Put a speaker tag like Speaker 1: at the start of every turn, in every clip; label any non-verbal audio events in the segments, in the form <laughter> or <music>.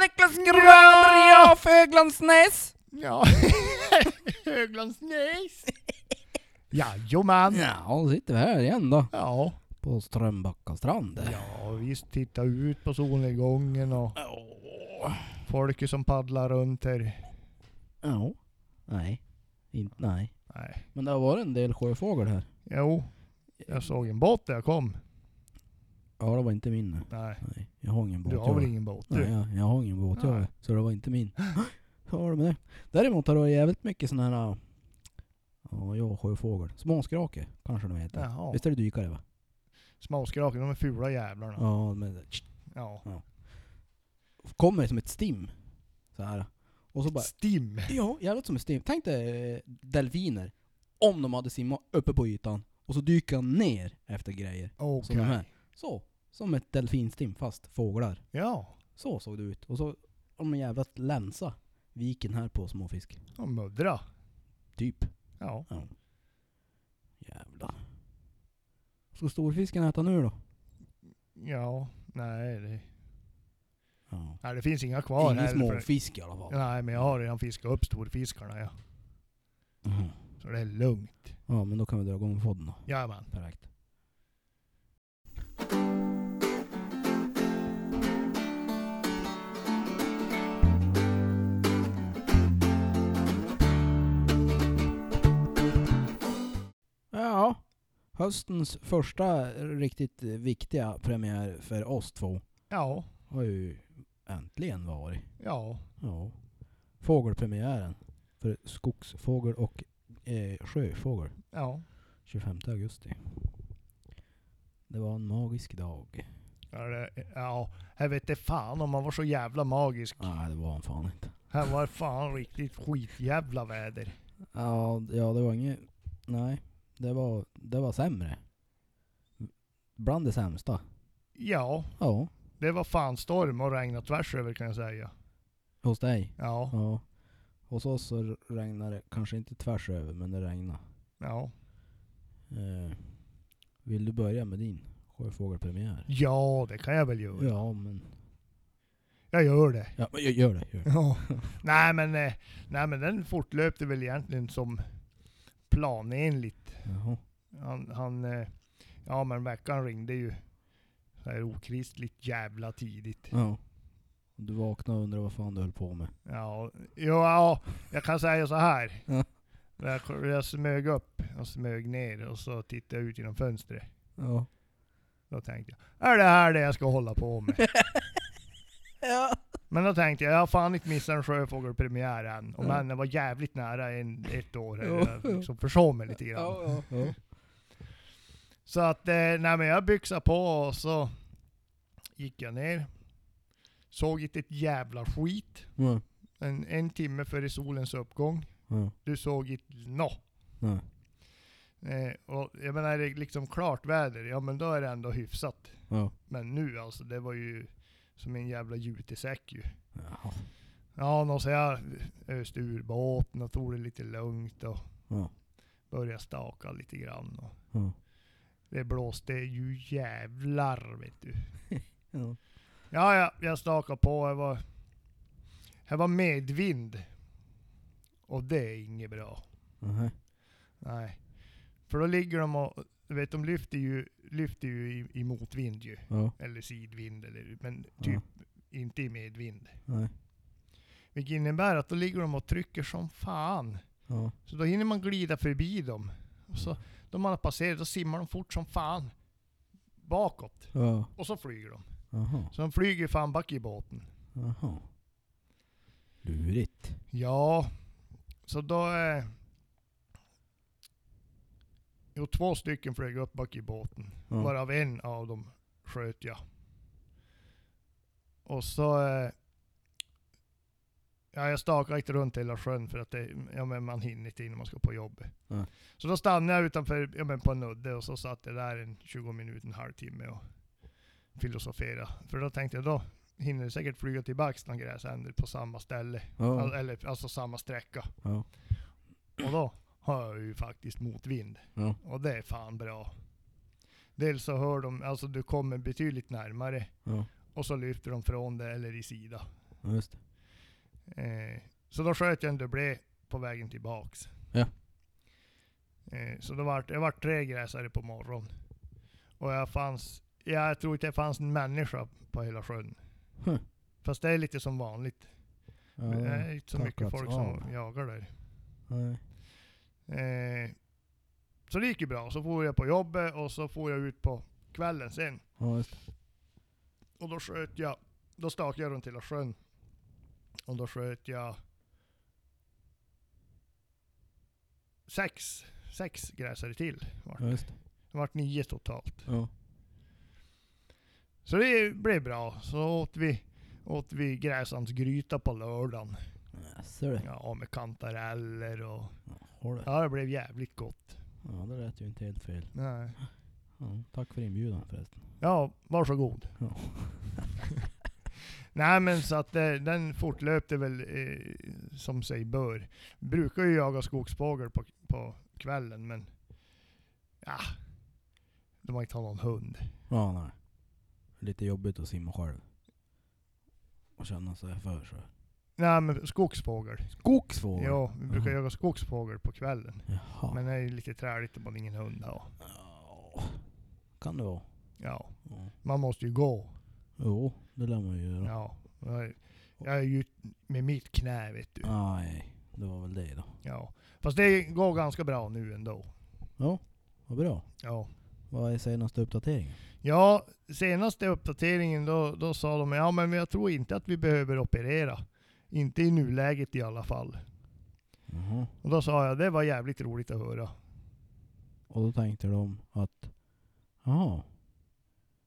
Speaker 1: Niklas Granberg av Höglandsnäs.
Speaker 2: Ja,
Speaker 1: <laughs>
Speaker 2: Höglandsnäs. <laughs> Jajamän.
Speaker 1: Ja, sitter vi här igen då.
Speaker 2: Ja.
Speaker 1: På Strömbacka strand.
Speaker 2: ja, visst titta ut på solnedgången och folk som paddlar runt här.
Speaker 1: Ja. Nej. Inte, nej.
Speaker 2: Nej.
Speaker 1: Men det har varit en del sjöfågel här.
Speaker 2: Jo, jag såg en båt där jag kom.
Speaker 1: Ja, det var inte min.
Speaker 2: Nej,
Speaker 1: Nej, jag har ingen båt.
Speaker 2: du har
Speaker 1: jag.
Speaker 2: väl ingen båt
Speaker 1: Nej,
Speaker 2: du?
Speaker 1: jag, jag har ingen båt jag.
Speaker 2: Nej.
Speaker 1: Så det var inte min. <gasps> Så var det med det. Däremot har det varit jävligt mycket sån här... Ja, jag sjöfågel. Småskrake kanske de heter.
Speaker 2: Jaha.
Speaker 1: Visst är det dykare va?
Speaker 2: Småskraken, de är fula jävlarna.
Speaker 1: Ja, men
Speaker 2: Ja.
Speaker 1: kommer som ett stim. Så här. Och så bara...
Speaker 2: Stim.
Speaker 1: Ja, jävligt som ett stim. Tänk dig eh, delfiner. Om de hade simmat uppe på ytan och så dyker de ner efter grejer. Som
Speaker 2: Okej.
Speaker 1: de här. Så. Som ett delfinstim fast fåglar.
Speaker 2: Ja.
Speaker 1: Så såg det ut. Och så om de jävla länsa viken här på småfisk.
Speaker 2: Och muddra.
Speaker 1: Typ.
Speaker 2: Ja.
Speaker 1: Ja. Jävlar. Ska storfisken äta nu då?
Speaker 2: Ja. Nej det,
Speaker 1: Ja.
Speaker 2: nej, det finns inga kvar
Speaker 1: Ingen
Speaker 2: heller för-
Speaker 1: småfisk i alla fall.
Speaker 2: Nej, men jag har redan fiskat upp storfiskarna ja.
Speaker 1: Mhm.
Speaker 2: Så det är lugnt.
Speaker 1: Ja, men då kan vi dra igång podden då.
Speaker 2: Jajamän.
Speaker 1: Perfekt. Ja, höstens första riktigt viktiga premiär för oss två
Speaker 2: Ja.
Speaker 1: har ju äntligen varit.
Speaker 2: Ja.
Speaker 1: Ja. Fågelpremiären för skogsfågel och eh, sjöfågel.
Speaker 2: Ja.
Speaker 1: 25 augusti. Det var en magisk dag.
Speaker 2: Ja, det, ja, jag vet inte fan om man var så jävla magisk.
Speaker 1: Nej, det var han fan inte.
Speaker 2: Här var fan riktigt skitjävla väder.
Speaker 1: Ja, d- ja det var inget... Nej, det var, det var sämre. Bland det sämsta.
Speaker 2: Ja,
Speaker 1: Ja,
Speaker 2: det var fan storm och regn tvärs över kan jag säga.
Speaker 1: hos dig.
Speaker 2: Ja,
Speaker 1: Ja. Hos oss så r- regnade det, kanske inte tvärs över, men det regnade.
Speaker 2: ja.
Speaker 1: Eh, vill du börja med din sjöfågelpremiär?
Speaker 2: Ja, det kan jag väl göra.
Speaker 1: Ja, men...
Speaker 2: Jag gör det.
Speaker 1: Ja, men gö- gör det. Gör det.
Speaker 2: Ja. <laughs> nej, men, eh, nej men den fortlöpte väl egentligen som planenligt.
Speaker 1: Jaha.
Speaker 2: Han, han eh, ja men veckan ringde ju så här okristligt jävla tidigt.
Speaker 1: Ja. Du vaknade och undrade vad fan du höll på med.
Speaker 2: Ja, jo, ja, jag kan säga så här.
Speaker 1: Ja.
Speaker 2: Jag, jag smög upp och smög ner och så tittade jag ut genom fönstret.
Speaker 1: Ja.
Speaker 2: Då tänkte jag, är det här det jag ska hålla på
Speaker 1: <laughs>
Speaker 2: med?
Speaker 1: Ja.
Speaker 2: Men då tänkte jag, jag har fan inte missat en sjöfågelpremiär än. Och
Speaker 1: Ja.
Speaker 2: men jag var jävligt nära en, ett år. här.
Speaker 1: Jo,
Speaker 2: Jag
Speaker 1: jo.
Speaker 2: liksom försov mig lite grann.
Speaker 1: Ja, ja.
Speaker 2: Så att, eh, nej men jag byxade på och så gick jag ner. Såg inte ett jävla skit.
Speaker 1: Ja.
Speaker 2: En, en timme före solens uppgång.
Speaker 1: Ja.
Speaker 2: Du såg inte nå.
Speaker 1: Nej.
Speaker 2: Eh, och jag menar, är det liksom klart väder, ja men då är det ändå hyfsat.
Speaker 1: Ja.
Speaker 2: Men nu alltså, det var ju som en jävla jutesäck ju.
Speaker 1: Jaha.
Speaker 2: Ja, nå så jag öste ur båten och tog det lite lugnt och
Speaker 1: Ja.
Speaker 2: började staka lite grann. Och
Speaker 1: Ja.
Speaker 2: det blåste ju jävlar vet du.
Speaker 1: Ja.
Speaker 2: Ja, ja, jag stakade på. Jag var, jag var medvind. Och det är inget bra.
Speaker 1: Nej.
Speaker 2: Nej. För då ligger de och, du vet de lyfter ju, lyfter ju i, i motvind ju.
Speaker 1: Ja.
Speaker 2: Eller sidvind, eller, men
Speaker 1: Ja.
Speaker 2: typ inte i medvind.
Speaker 1: Nej.
Speaker 2: Vilket innebär att då ligger de och trycker som fan.
Speaker 1: Ja.
Speaker 2: Så då hinner man glida förbi dem. Och så, då man har passerat, då simmar de fort som fan. Bakåt.
Speaker 1: Ja.
Speaker 2: Och så flyger de.
Speaker 1: Jaha.
Speaker 2: Så de flyger fan back i båten.
Speaker 1: Jaha. Lurigt.
Speaker 2: Ja, så då... Eh, jo, två stycken flög upp bak i båten.
Speaker 1: Ja.
Speaker 2: Varav en av dem sköt jag. Och så... Eh, ja, jag stakade inte runt hela sjön för att det, ja, men man hinner inte innan man ska på jobbet.
Speaker 1: Ja.
Speaker 2: Så då stannade jag utanför ja, men på en udde och så satt jag där en 20 minuter, en halvtimme och filosoferade. För då tänkte jag, då hinner det säkert flyga tillbaks någon gräsänder på samma ställe. Al-
Speaker 1: Ja.
Speaker 2: eller alltså samma sträcka.
Speaker 1: Ja.
Speaker 2: Och då har jag ju faktiskt motvind.
Speaker 1: Ja.
Speaker 2: Och det är fan bra. Dels så hör de, alltså du kommer betydligt närmare
Speaker 1: Ja.
Speaker 2: och så lyfter de från det eller i sida.
Speaker 1: Ja, just det.
Speaker 2: Eh, så då sköt jag en dubblé på vägen tillbaks.
Speaker 1: Ja.
Speaker 2: Eh, så då var jag var tre gräsare på morgonen. Och jag fanns, jag tror inte det fanns en människa på hela sjön.
Speaker 1: Huh.
Speaker 2: Fast det är lite som vanligt.
Speaker 1: Ja,
Speaker 2: Det är inte så mycket
Speaker 1: tacklats
Speaker 2: folk
Speaker 1: av.
Speaker 2: som jagar där.
Speaker 1: nej.
Speaker 2: Eh, så det gick ju bra. Så får jag på jobbet och så får jag ut på kvällen sen.
Speaker 1: Ja, just det.
Speaker 2: Och då sköt jag, då stakade jag runt hela sjön. Och då sköt jag sex, sex gräsare till. Vart.
Speaker 1: Ja, just det.
Speaker 2: Det vart nio totalt.
Speaker 1: Ja.
Speaker 2: Så det blev bra. Så åt vi, åt vi gräsansgryta på lördagen.
Speaker 1: Ja, Ser du?
Speaker 2: Ja, med kantareller och...
Speaker 1: Har du?
Speaker 2: Ja, det blev jävligt gott.
Speaker 1: Ja, det lät ju inte helt fel.
Speaker 2: Nej.
Speaker 1: Ja, tack för inbjudan förresten.
Speaker 2: Ja, varsågod.
Speaker 1: Ja.
Speaker 2: <laughs> Nej men så att eh, den fortlöpte väl eh, som sig bör. Brukar ju jaga skogsfågel på, på kvällen men ja, de har inte haft någon hund.
Speaker 1: Ja, nej. Lite jobbigt att simma själv. Och känna sig för så. här.
Speaker 2: Nej men skogsfågel.
Speaker 1: Skogsfågel?
Speaker 2: Ja, vi brukar
Speaker 1: Jaha.
Speaker 2: jaga skogsfågel på kvällen.
Speaker 1: Jaha.
Speaker 2: Men det är ju lite träligt om man ingen hund har.
Speaker 1: Ja. Kan det vara.
Speaker 2: Ja,
Speaker 1: Ja.
Speaker 2: man måste ju gå.
Speaker 1: Jo, det lär man ju göra.
Speaker 2: Ja. Jag- Jag är ju med mitt knä vet du.
Speaker 1: Nej, det var väl det då.
Speaker 2: Ja. Fast det går ganska bra nu ändå.
Speaker 1: Ja, vad bra.
Speaker 2: Ja.
Speaker 1: Vad är senaste uppdateringen?
Speaker 2: Ja, senaste uppdateringen då, då sa de ja men jag tror inte att vi behöver operera. Inte i nuläget i alla fall.
Speaker 1: Jaha.
Speaker 2: Och då sa jag det var jävligt roligt att
Speaker 1: <laughs>
Speaker 2: höra.
Speaker 1: Och då tänkte de att, jaha.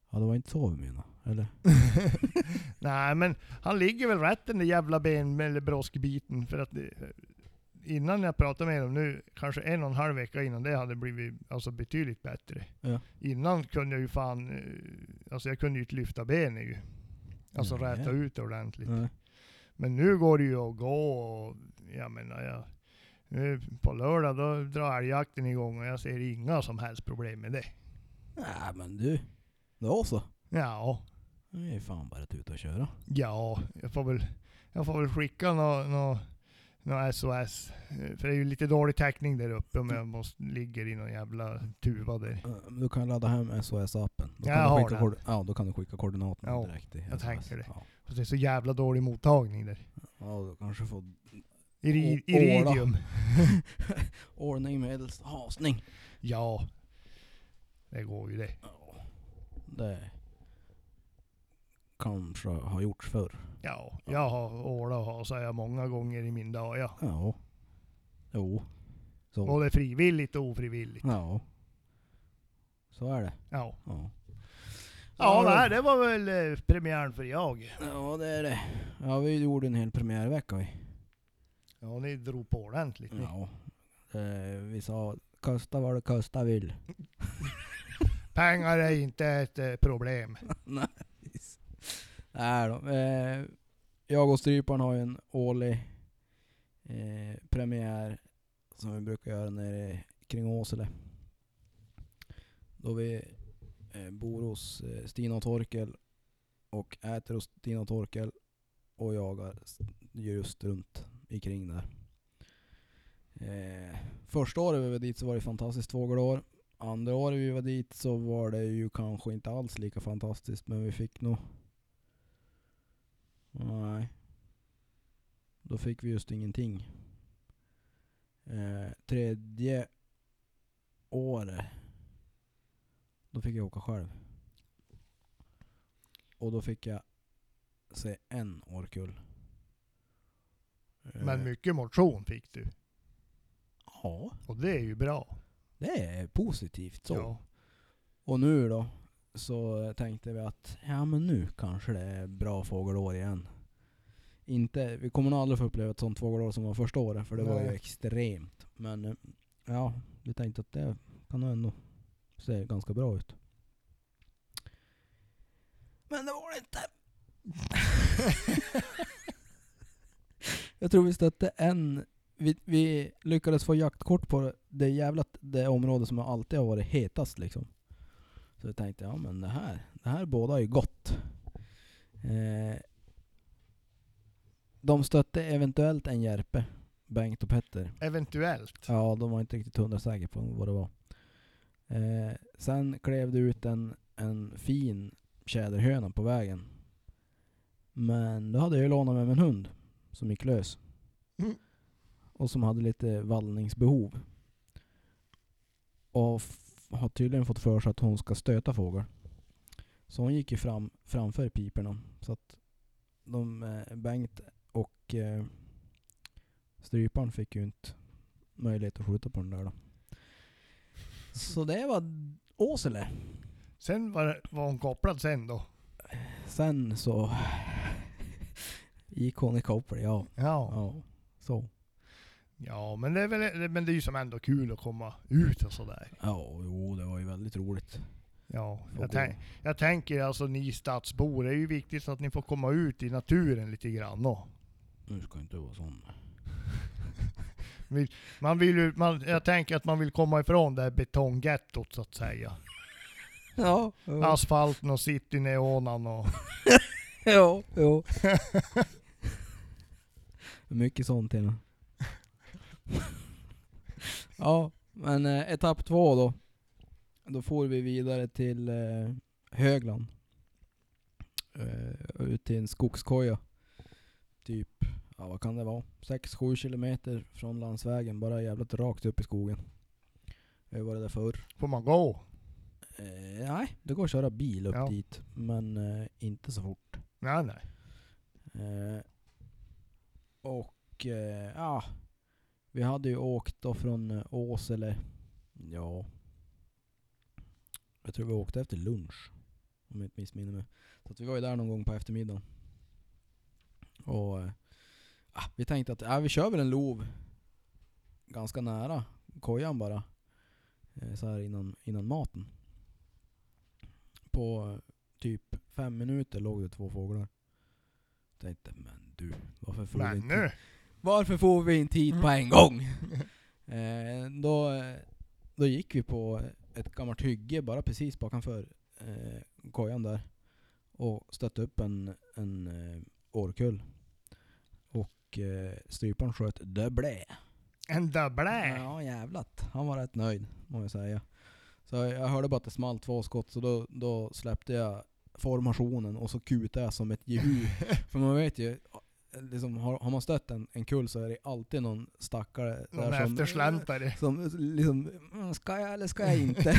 Speaker 1: Ja, det var inte så vi menade, eller?
Speaker 2: Nej men han ligger väl rätt den där jävla ben eller broskbiten för att det, innan jag pratade med dem nu, kanske en och en halv vecka innan det hade blivit alltså betydligt bättre.
Speaker 1: Ja.
Speaker 2: Innan kunde jag ju fan, eh, alltså jag kunde ju inte lyfta benen ju. Alltså
Speaker 1: Nej.
Speaker 2: räta ut det ordentligt.
Speaker 1: Nej.
Speaker 2: Men nu går det ju att gå och jag menar jag, nu på lördag då drar älgjakten igång och jag ser inga som helst problem med det.
Speaker 1: Nej men du. Då så.
Speaker 2: Ja,
Speaker 1: Det är fan bara att tuta och köra.
Speaker 2: ja, jag får väl, jag får väl skicka något nå, nå SOS. eh, För det är ju lite dålig täckning där uppe om jag måste, ligger i någon jävla tuva där.
Speaker 1: Eh, men Du kan ladda hem SOS-appen. Då
Speaker 2: Ja,
Speaker 1: kan
Speaker 2: jag
Speaker 1: du
Speaker 2: har
Speaker 1: skicka
Speaker 2: den.
Speaker 1: koord- Ja, då kan du skicka koordinaterna
Speaker 2: Ja,
Speaker 1: direkt till
Speaker 2: jag tänker det.
Speaker 1: Ja,
Speaker 2: Fast det är så jävla dålig mottagning där.
Speaker 1: ja du kanske får
Speaker 2: Iri,
Speaker 1: Å- åla.
Speaker 2: iridium.
Speaker 1: ordning medelst hasning.
Speaker 2: Ja, det går ju det.
Speaker 1: Ja. Det kanske har gjorts förr.
Speaker 2: Ja, jag har åla och hasar jag många gånger i min dag ja.
Speaker 1: Ja. Jo. Så.
Speaker 2: Både frivilligt och ofrivilligt.
Speaker 1: Ja. Så är det.
Speaker 2: Ja, ja
Speaker 1: Ja. Ja,
Speaker 2: nej, det var väl eh, premiären för jag.
Speaker 1: Ja det är det. Ja vi gjorde en hel premiärvecka vi.
Speaker 2: Ja, ni drog på ordentligt. ni.
Speaker 1: Ja. Eh, vi sa kosta vad det
Speaker 2: <laughs>
Speaker 1: kosta vill.
Speaker 2: Pengar är inte ett eh, problem.
Speaker 1: <laughs> Nej, precis. Nej då. Eh, jag och Stryparen har ju en årlig eh, premiär som vi brukar göra nere kring Åsele. Då vi eh, bor hos eh, Stina och Torkel och äter hos Stina och Torkel och jagar s- just runt ikring där. Eh, första året vi var dit så var det fantastiskt fågelår. Andra året vi var dit så var det ju kanske inte alls lika fantastiskt men vi fick nog... Nej. Då fick vi just ingenting. Eh, tredje året. Då fick jag åka själv. Och då fick jag se en årkull.
Speaker 2: Men
Speaker 1: Eh,
Speaker 2: mycket motion fick du.
Speaker 1: Ja,
Speaker 2: Och det är ju bra.
Speaker 1: det är positivt så.
Speaker 2: Ja.
Speaker 1: Och nu då så tänkte vi att ja men nu kanske det är bra fågelår igen. Inte, vi kommer nog aldrig få uppleva ett sånt fågelår som var första året för det var ju
Speaker 2: Nej.
Speaker 1: extremt. Men eh, ja, vi tänkte att det kan nog ändå se ganska bra ut. Men det var det inte. Jag tror vi stötte en, vi, vi lyckades få jaktkort på det jävla det område som alltid har varit hetast liksom. Så jag tänkte, ja men det här, det här båda är ju gott. Eh, De stötte eventuellt en Järpe, Bengt och Petter.
Speaker 2: Eventuellt.
Speaker 1: Ja, de var inte riktigt hundra säkra på vad det var. Eh, sen klev det ut en, en fin tjäderhöna på vägen. Men då hade jag ju lånat med mig en hund som gick lös.
Speaker 2: Mm.
Speaker 1: Och som hade lite vallningsbehov. Och f- har tydligen fått för sig att hon ska stöta fåglar. Så hon gick ju fram, framför piporna. Så att de, eh, Bengt och eh, Stryparen fick ju inte möjlighet att skjuta på den där då. Så det var Åsele.
Speaker 2: Sen var, var hon kopplad sen då.
Speaker 1: Sen så <laughs> gick hon i koppel, ja.
Speaker 2: Ja.
Speaker 1: ja. Så.
Speaker 2: Ja, men det är väl, eh, men det är ju som ändå kul att komma ut och sådär.
Speaker 1: Ja, jo det var ju väldigt roligt.
Speaker 2: Ja,
Speaker 1: Få
Speaker 2: jag,
Speaker 1: gå.
Speaker 2: tänk, jag tänker alltså ni stadsbor, det är ju viktigt att ni får komma ut i naturen lite grann då.
Speaker 1: Nu ska jag inte vara sån.
Speaker 2: Man vill ju, man, jag tänker att man vill komma ifrån det här betonggettot så att säga.
Speaker 1: Ja, jo.
Speaker 2: Asfalten och cityneonan och... <laughs>
Speaker 1: jo, jo. <laughs> Mycket sånt Tina. <laughs> ja, men eh, etapp två då. Då får vi vidare till eh, Högland. Eh, ut till en skogskoja. Typ, ja vad kan det vara? 6-7 kilometer från landsvägen. Bara jävligt rakt upp i skogen. Jag var där förr.
Speaker 2: Får man gå?
Speaker 1: Eh, nej, det går att köra bil upp
Speaker 2: Ja.
Speaker 1: dit. Men eh, inte så fort.
Speaker 2: Nej, nej.
Speaker 1: Eh, och eh, ja, vi hade ju åkt då från eh, Åsele. Ja. Jag tror vi åkte efter lunch. Om jag inte missminner mig. Så att vi var ju där någon gång på eftermiddagen. Och eh, ah, vi tänkte att ah, vi kör väl en lov ganska nära kojan bara. Eh, så här innan, innan maten. På eh, typ fem minuter låg det två fåglar. Tänkte men du, varför får vi
Speaker 2: Men
Speaker 1: inte
Speaker 2: nu!
Speaker 1: varför får vi en tid på en gång? Eh, då, eh, då gick vi på ett gammalt hygge bara precis bakanför eh, kojan där. Och stötte upp en, en eh, årkull. Och eh, stryparen sköt döblä.
Speaker 2: En dubblä!
Speaker 1: Ja jävlat. Han var rätt nöjd, må jag säga. Så jag hörde bara att det small två skott, så då, då släppte jag formationen och så kutade jag som ett jehu. För man vet ju, liksom, har, har man stött en, en kull så är det alltid någon stackare
Speaker 2: Någon efterslantare.
Speaker 1: som liksom, "Mm, ska jag eller ska jag inte?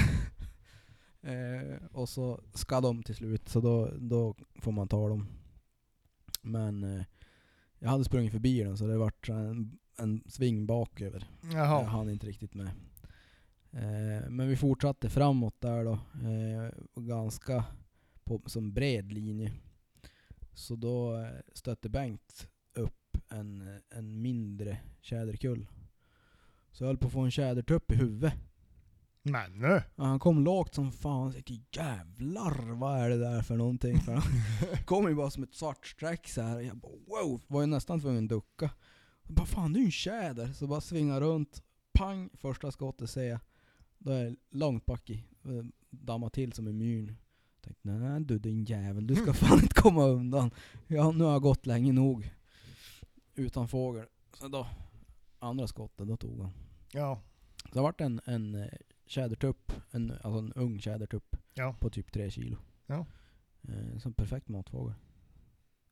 Speaker 1: eh, och så ska de till slut, så då, då får man ta dem. Men eh, jag hade sprungit förbi den så det vart en, en sving baköver. Jag
Speaker 2: Jaha.
Speaker 1: hann inte riktigt med. Eh, men vi fortsatte framåt där då. Eh, och ganska på som bred linje. Så då eh, stötte Bengt upp en, en mindre tjäderkull. Så jag höll på att få en tjädertupp i huvudet.
Speaker 2: Men nu!
Speaker 1: Ja, han kom lågt som fan. Jag tänkte, jävlar vad är det där för någonting? För han kom ju bara som ett svart streck så här. Jag bara, wow, var ju nästan tvungen att ducka. Jag bara fan det är ju en tjäder. Så bara svinga runt. Pang, första skottet ser jag. Då är jag långt back i. Eh, Dammar till som en myrn. Tänkte nej du din jävel, du ska fan inte komma undan. Ja, nu har jag gått länge nog. Utan fågel. Så då, andra skottet, då tog han.
Speaker 2: Ja.
Speaker 1: Så det har varit en, en eh, tjädertupp, en, alltså en ung tjädertupp
Speaker 2: Ja.
Speaker 1: på typ tre kilo.
Speaker 2: Ja.
Speaker 1: Eh, så en perfekt matfågel.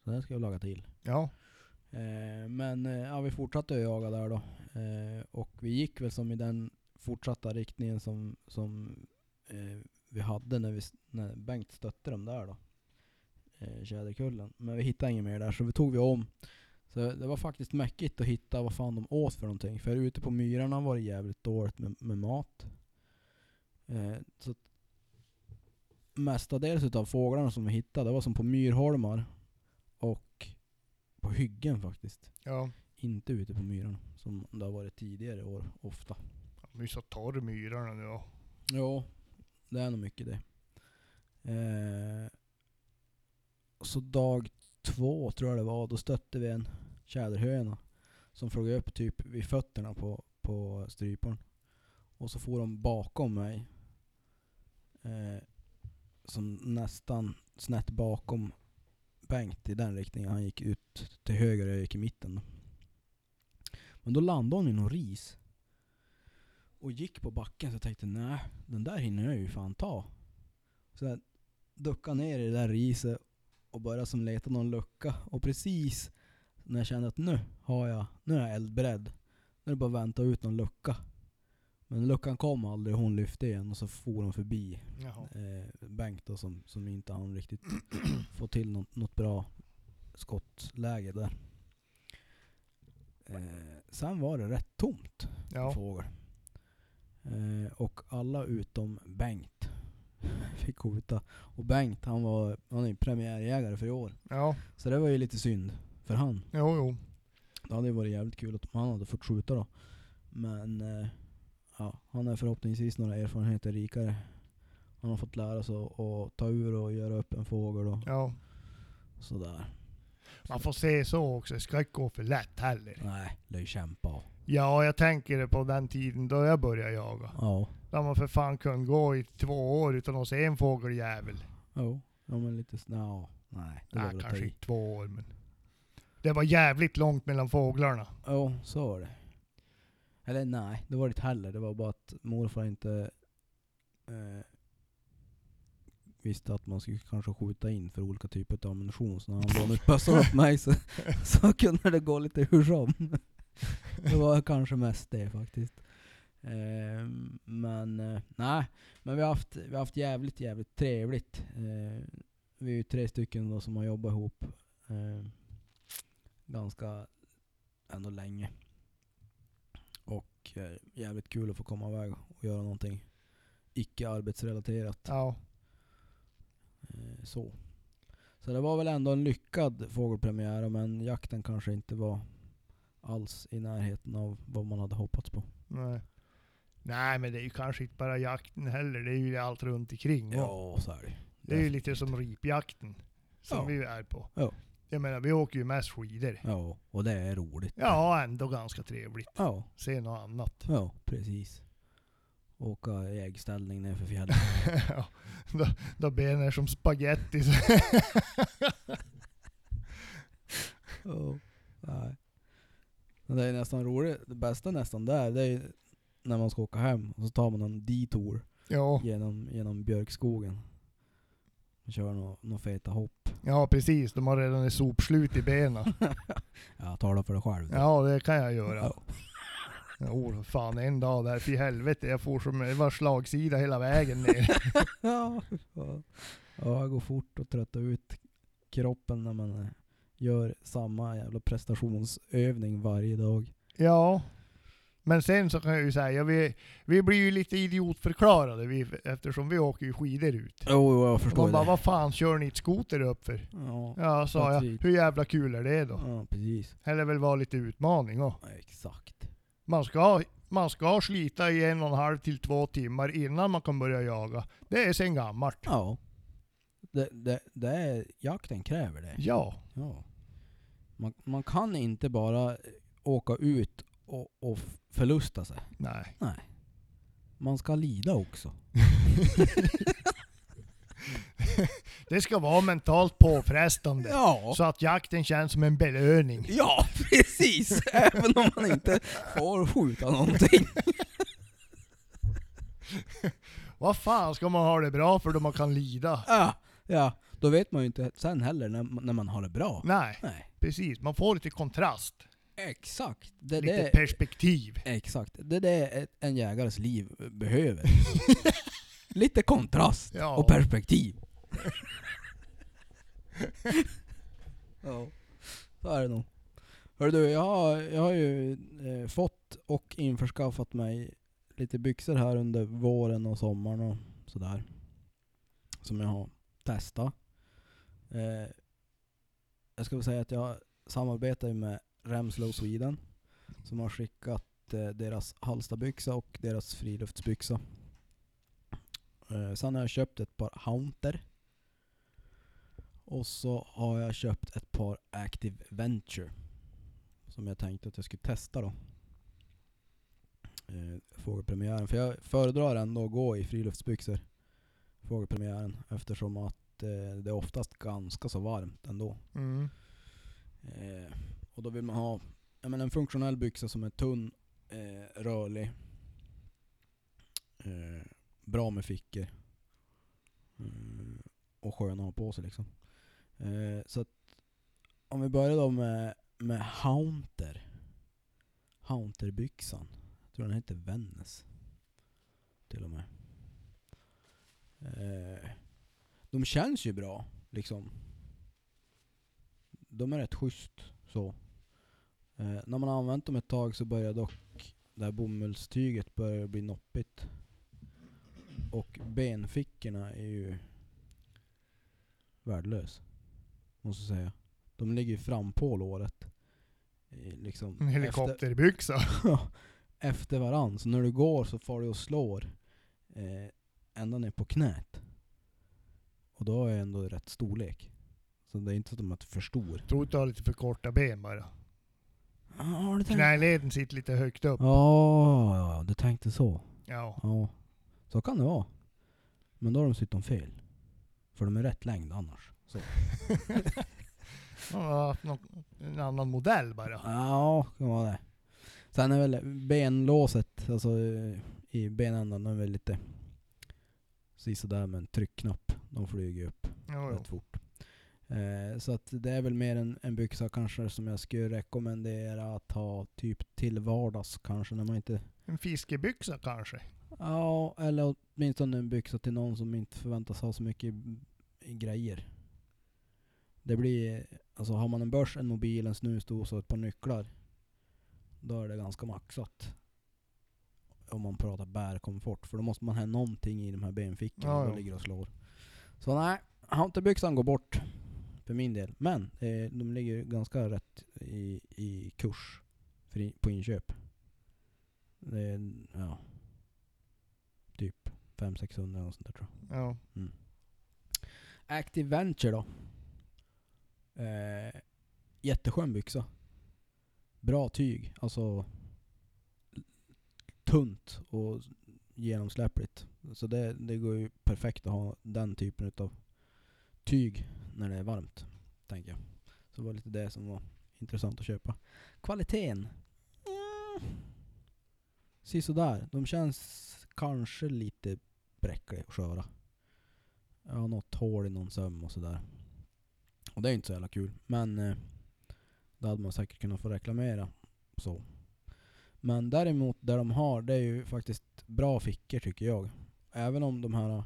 Speaker 1: Så den ska jag laga till.
Speaker 2: Ja.
Speaker 1: Eh, men eh, ja, vi fortsatte att jaga där då. Eh, och vi gick väl som i den fortsatta riktningen som, som eh, vi hade när, vi, s- när Bengt stötte dem där då. Eh, Tjäderkullen. Men vi hittade inget mer där så vi tog vi om. Så det var faktiskt mäckigt att hitta vad fan de åt för någonting. För ute på myrarna var det jävligt dåligt med, med mat. Eh, så att mestadels utav fåglarna som vi hittade var som på myrholmar och på hyggen faktiskt.
Speaker 2: Ja.
Speaker 1: Inte ute på myrarna som det har varit tidigare år ofta.
Speaker 2: De är ju så torr myrarna nu. och-
Speaker 1: Ja, det är nog mycket det. Eh, så dag två tror jag det var, då stötte vi en tjäderhöna som flög upp typ vid fötterna på, på stryparen. Och så for de bakom mig. Eh, som nästan snett bakom bänkt i den riktningen. Han gick ut till höger och jag gick i mitten. då. Men då landade hon i någon ris. Och gick på backen så jag tänkte nej, den där hinner jag ju fan ta. Så jag duckade ner i det där riset och började som leta någon lucka. Och precis när jag kände att nu har jag, nu är jag eldberedd. Nu är det bara att vänta ut någon lucka. Men luckan kom aldrig och hon lyfte igen och så for hon förbi
Speaker 2: Jaha.
Speaker 1: eh, Bengt då som, som inte han riktigt <clears throat> få till något, något bra skottläge där. Eh, sen var det rätt tomt på
Speaker 2: Ja.
Speaker 1: fågel. Eh, och alla utom Bengt <laughs> fick skjuta. Och Bengt han var han är ju premiärjägare för i år.
Speaker 2: ja,
Speaker 1: Så det var ju lite synd för han.
Speaker 2: jo jo.
Speaker 1: Det hade ju varit jävligt kul att han hade fått skjuta då. Men eh, ja, han är förhoppningsvis några erfarenheter rikare. Han har fått lära sig att- att ta ur och göra upp en fågel och
Speaker 2: Ja.
Speaker 1: sådär.
Speaker 2: Man får se så också, det ska inte gå för lätt heller.
Speaker 1: Nej, lär ju kämpa.
Speaker 2: Ja, jag tänker det på den tiden då jag började jaga.
Speaker 1: Ja,
Speaker 2: Där man för fan kunde gå i två år utan att se en fågeljävel.
Speaker 1: jo. Ja men lite snö. Ja, nej. Det var
Speaker 2: Nej,
Speaker 1: väl att ta
Speaker 2: kanske
Speaker 1: i.
Speaker 2: inte två år men. Det var jävligt långt mellan fåglarna.
Speaker 1: Jo, så var det. Eller nej, det var det inte heller. Det var bara att morfar inte eh, visste att man skulle kanske skjuta in för olika typer av ammunition. Så när han lånade ut bössan åt mig så, <laughs> så kunde det gå lite hur som. <laughs> Det var kanske mest det faktiskt. Eh, men eh, nej, men vi har haft, vi har haft jävligt, jävligt trevligt. Eh, vi är ju tre stycken då som har jobbat ihop eh, ganska ändå länge. Och eh, jävligt kul att få komma iväg och göra någonting icke arbetsrelaterat.
Speaker 2: Ja.
Speaker 1: Eh, så. Så det var väl ändå en lyckad fågelpremiär men jakten kanske inte var alls i närheten av vad man hade hoppats på.
Speaker 2: Nej. Nej men det är ju kanske inte bara jakten heller, det är ju allt runt omkring. va?
Speaker 1: så är det
Speaker 2: det är ju lite som ripjakten. Som
Speaker 1: Ja.
Speaker 2: vi är på.
Speaker 1: Ja.
Speaker 2: Jag menar vi åker ju mest skidor.
Speaker 1: Ja, och det är roligt.
Speaker 2: Ja ändå ganska trevligt.
Speaker 1: Ja,
Speaker 2: Se något annat. <laughs>
Speaker 1: ja precis. Åka i äggställning
Speaker 2: <laughs>
Speaker 1: nerför fjällen.
Speaker 2: ja. Då, då benen är som spaghetti.
Speaker 1: Ja. Nej. Men det är nästan roligt, det bästa nästan där, det är ju när man ska åka hem och så tar man en detour
Speaker 2: <laughs> ja,
Speaker 1: genom, genom björkskogen. Man kör några nå feta hopp.
Speaker 2: ja precis. De har redan ett sopslut i benen.
Speaker 1: Ja, tala för dig själv.
Speaker 2: Ja det kan jag göra.
Speaker 1: Ja.
Speaker 2: Jo, fan en dag där, fy helvete. Jag får som, det var slagsida hela vägen ner.
Speaker 1: <laughs> Ja, fy fan. ja, det går fort att trötta ut kroppen när man eh, gör samma jävla prestationsövning varje dag.
Speaker 2: ja. Men sen så kan jag ju säga, vi, vi blir ju lite idiotförklarade vi, eftersom vi åker ju skidor ut.
Speaker 1: Jo, oh, jag
Speaker 2: De bara, vad fan kör ni ett skoter upp för?
Speaker 1: Ja,
Speaker 2: Ja, sa jag.
Speaker 1: Precis.
Speaker 2: Hur jävla kul är det då?
Speaker 1: typ? ja, precis.
Speaker 2: Eller väl vara lite utmaning då.
Speaker 1: Ja, exakt.
Speaker 2: Man ska, man ska slita i en och en halv till två timmar innan man kan börja jaga. Det är sen gammalt.
Speaker 1: Ja. Det, det, det är, jakten kräver det.
Speaker 2: Ja.
Speaker 1: Ja. Man, man kan inte bara eh, åka ut och, och f- förlusta sig.
Speaker 2: Nej. <laughs>
Speaker 1: Man ska lida också.
Speaker 2: Det ska vara mentalt påfrestande.
Speaker 1: Ja,
Speaker 2: Så att jakten känns som en belöning.
Speaker 1: ja precis! <laughs> Även om man inte får
Speaker 2: <laughs>
Speaker 1: skjuta någonting.
Speaker 2: Vad fan ska man ha det bra för då man kan lida?
Speaker 1: Ja, ja. Då vet man ju inte sen heller när, när man har det bra.
Speaker 2: Nej,
Speaker 1: Nej.
Speaker 2: precis. Man får lite kontrast.
Speaker 1: Exakt. Det,
Speaker 2: Lite
Speaker 1: det,
Speaker 2: perspektiv.
Speaker 1: exakt. Det är det ett- en jägares liv behöver. Lite kontrast.
Speaker 2: Ja.
Speaker 1: och perspektiv. ja, så är det nog. Hörru du, jag har, jag har ju eh, fått och införskaffat mig lite byxor här under våren och sommaren och sådär. Som jag har testat. Eh, jag ska väl säga att jag samarbetar ju med Remslow Sweden som har skickat eh, deras halstabyxa och deras friluftsbyxa. Eh, sen har jag köpt ett par Haunter. Och så har jag köpt ett par Active Venture. Som jag tänkte att jag skulle testa då. Eh, fågelpremiären. För jag föredrar ändå att gå i friluftsbyxor. Fågelpremiären. Eftersom att att eh, det är oftast ganska så varmt ändå.
Speaker 2: Mm.
Speaker 1: Eh, och då vill man ha ja, men en funktionell byxa som är tunn, eh, rörlig, eh, bra med fickor mm, och skön att ha på sig. Liksom. Eh, så att, om vi börjar då med, med Haunter. Haunterbyxan. Jag tror den heter Vännäs. Till och med. Eh, de känns ju bra, liksom de är rätt schysst så. Eh, när man har använt dem ett tag så börjar dock det här bomullstyget börja bli noppigt. Och benfickorna är ju värdelös. Måste jag säga. De ligger ju fram på låret. Eh, Liksom
Speaker 2: En helikopterbyxa.
Speaker 1: Efter, efter varann. Så när du går så far du och slår eh, ända ner på knät. Och då är det ändå rätt storlek. Så det är inte så att de är för stor.
Speaker 2: Tror att du har lite för korta ben bara.
Speaker 1: Ja, du tänkte...
Speaker 2: Knäleden sitter lite högt upp.
Speaker 1: Ja, ja, du tänkte så. <laughs>
Speaker 2: Ja.
Speaker 1: Ja, så kan det vara. Men då har de dessutom fel. För de är rätt längd annars. Så.
Speaker 2: Han har haft någon, en annan modell bara.
Speaker 1: Ja, kan vara det. Sen är väl benlåset, alltså eh, i benändan, den är väl lite sådär med en tryckknapp. De flyger ju upp
Speaker 2: Jo, jo.
Speaker 1: rätt fort. Eh, så att det är väl mer en, en byxa kanske som jag skulle rekommendera att ha typ till vardags kanske när man inte
Speaker 2: En fiskebyxa kanske.
Speaker 1: Ja, eller åtminstone en byxa till någon som inte förväntas ha så mycket i grejer. Det blir, alltså har man en börs, en mobil, en snusdosa och ett par nycklar. Då är det ganska maxat. Om man pratar bärkomfort. För då måste man ha någonting i de här benfickorna.
Speaker 2: Ja,
Speaker 1: då
Speaker 2: ja.
Speaker 1: ligger det och slår. Så nej, hantelbyxan går bort. För min del. Men eh, de ligger ganska rätt i, i kurs. För i, på inköp. Det är, ja. Typ 500-600 och sånt där tror jag.
Speaker 2: Ja.
Speaker 1: Active Venture då. Eh, jätteskön byxa. Bra tyg. Alltså tunt och genomsläppligt. Så det, det går ju perfekt att ha den typen utav tyg när det är varmt. Tänker jag. Så det var lite det som var intressant att köpa. Kvaliteten? Mm. Sisådär. De känns kanske lite bräckliga och sköra. Jag har något hål i någon söm och sådär. Och det är inte så jävla kul. Men eh, det hade man säkert kunnat få reklamera. Så. Men däremot, det de har, det är ju faktiskt bra fickor tycker jag. Även om de här, eh,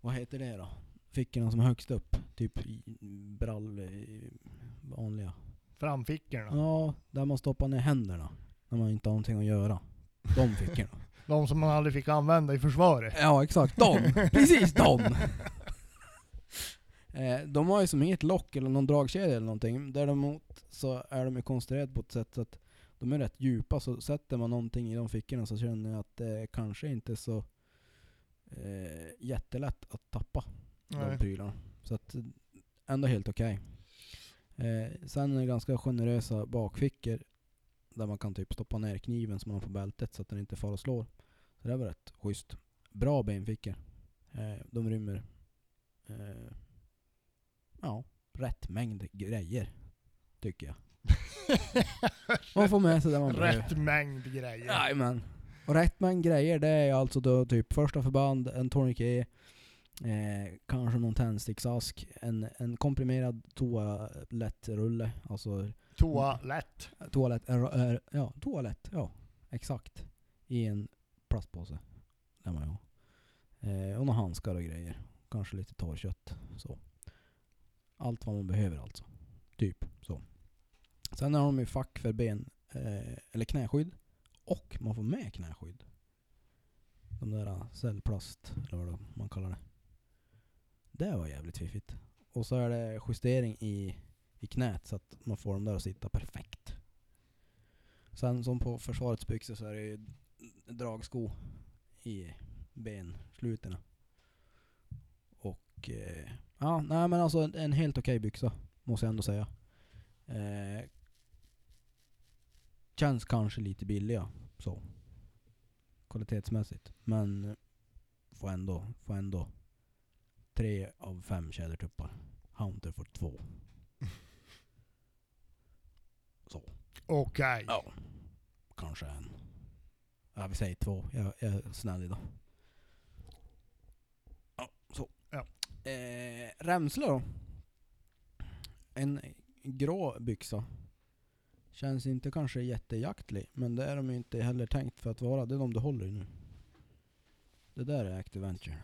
Speaker 1: vad heter det då? Fickorna som är högst upp. Typ i- brall... i- vanliga.
Speaker 2: Framfickorna.
Speaker 1: Ja, där man stoppar ner händerna. När man inte har någonting att göra. De fickorna.
Speaker 2: De som man aldrig fick använda i försvaret.
Speaker 1: Ja, exakt. De! Precis de! Eh, de har ju som inget lock eller någon dragkedja eller någonting. Däremot så är de ju konstruerade på ett sätt så att de är rätt djupa. Så sätter man någonting i de fickorna så känner jag att det kanske inte är så eh, jättelätt att tappa de
Speaker 2: Nej.
Speaker 1: prylarna. Så att eh, ändå helt okej. Eh, sen är det ganska generösa bakfickor där man kan typ stoppa ner kniven som man har på bältet så att den inte far och slår. Så det var rätt schysst. Bra benfickor. Eh, de rymmer eh, ja, rätt mängd grejer tycker jag. Man får med sig det man
Speaker 2: <laughs>
Speaker 1: behöver.
Speaker 2: Rätt mängd grejer.
Speaker 1: Jajamän. Och rätt med en grejer det är alltså då typ första förband, en tourniquet, eh, kanske någon tändsticksask, en, en komprimerad toalettrulle, alltså
Speaker 2: Toalett.
Speaker 1: toalett, en ra- eh, ja, toalett, ja, exakt. I en plastpåse. Där man ju. har. Eh, och några handskar och grejer. Kanske lite torrkött. Så. Allt vad man behöver alltså. Typ så. Sen har de ju fack för ben, eh, eller knäskydd. Och man får med knäskydd. De där eh, cellplast, eller vad det- man kallar det. Det var jävligt fiffigt. Och så är det justering i, i knät så att man får dem där att sitta perfekt. Sen som på försvarets byxor så är det ju dragsko i benslutena. Och eh, ja, nej men alltså en, en helt okej byxa måste jag ändå säga. Eh, känns kanske lite billiga så. Kvalitetsmässigt. Men får ändå, får ändå tre av fem tjädertuppar. Hunter får två. Så.
Speaker 2: Okej.
Speaker 1: Ja. Typ. Kanske en. Ja, vi säger två. Jag, jag är snäll idag. Ja, så.
Speaker 2: Ja.
Speaker 1: Eh, rämsle då. En grå byxa. Känns inte kanske jättejaktlig, men det är de ju inte heller tänkt för att vara. Det är de du håller i nu. Det där är Active Venture.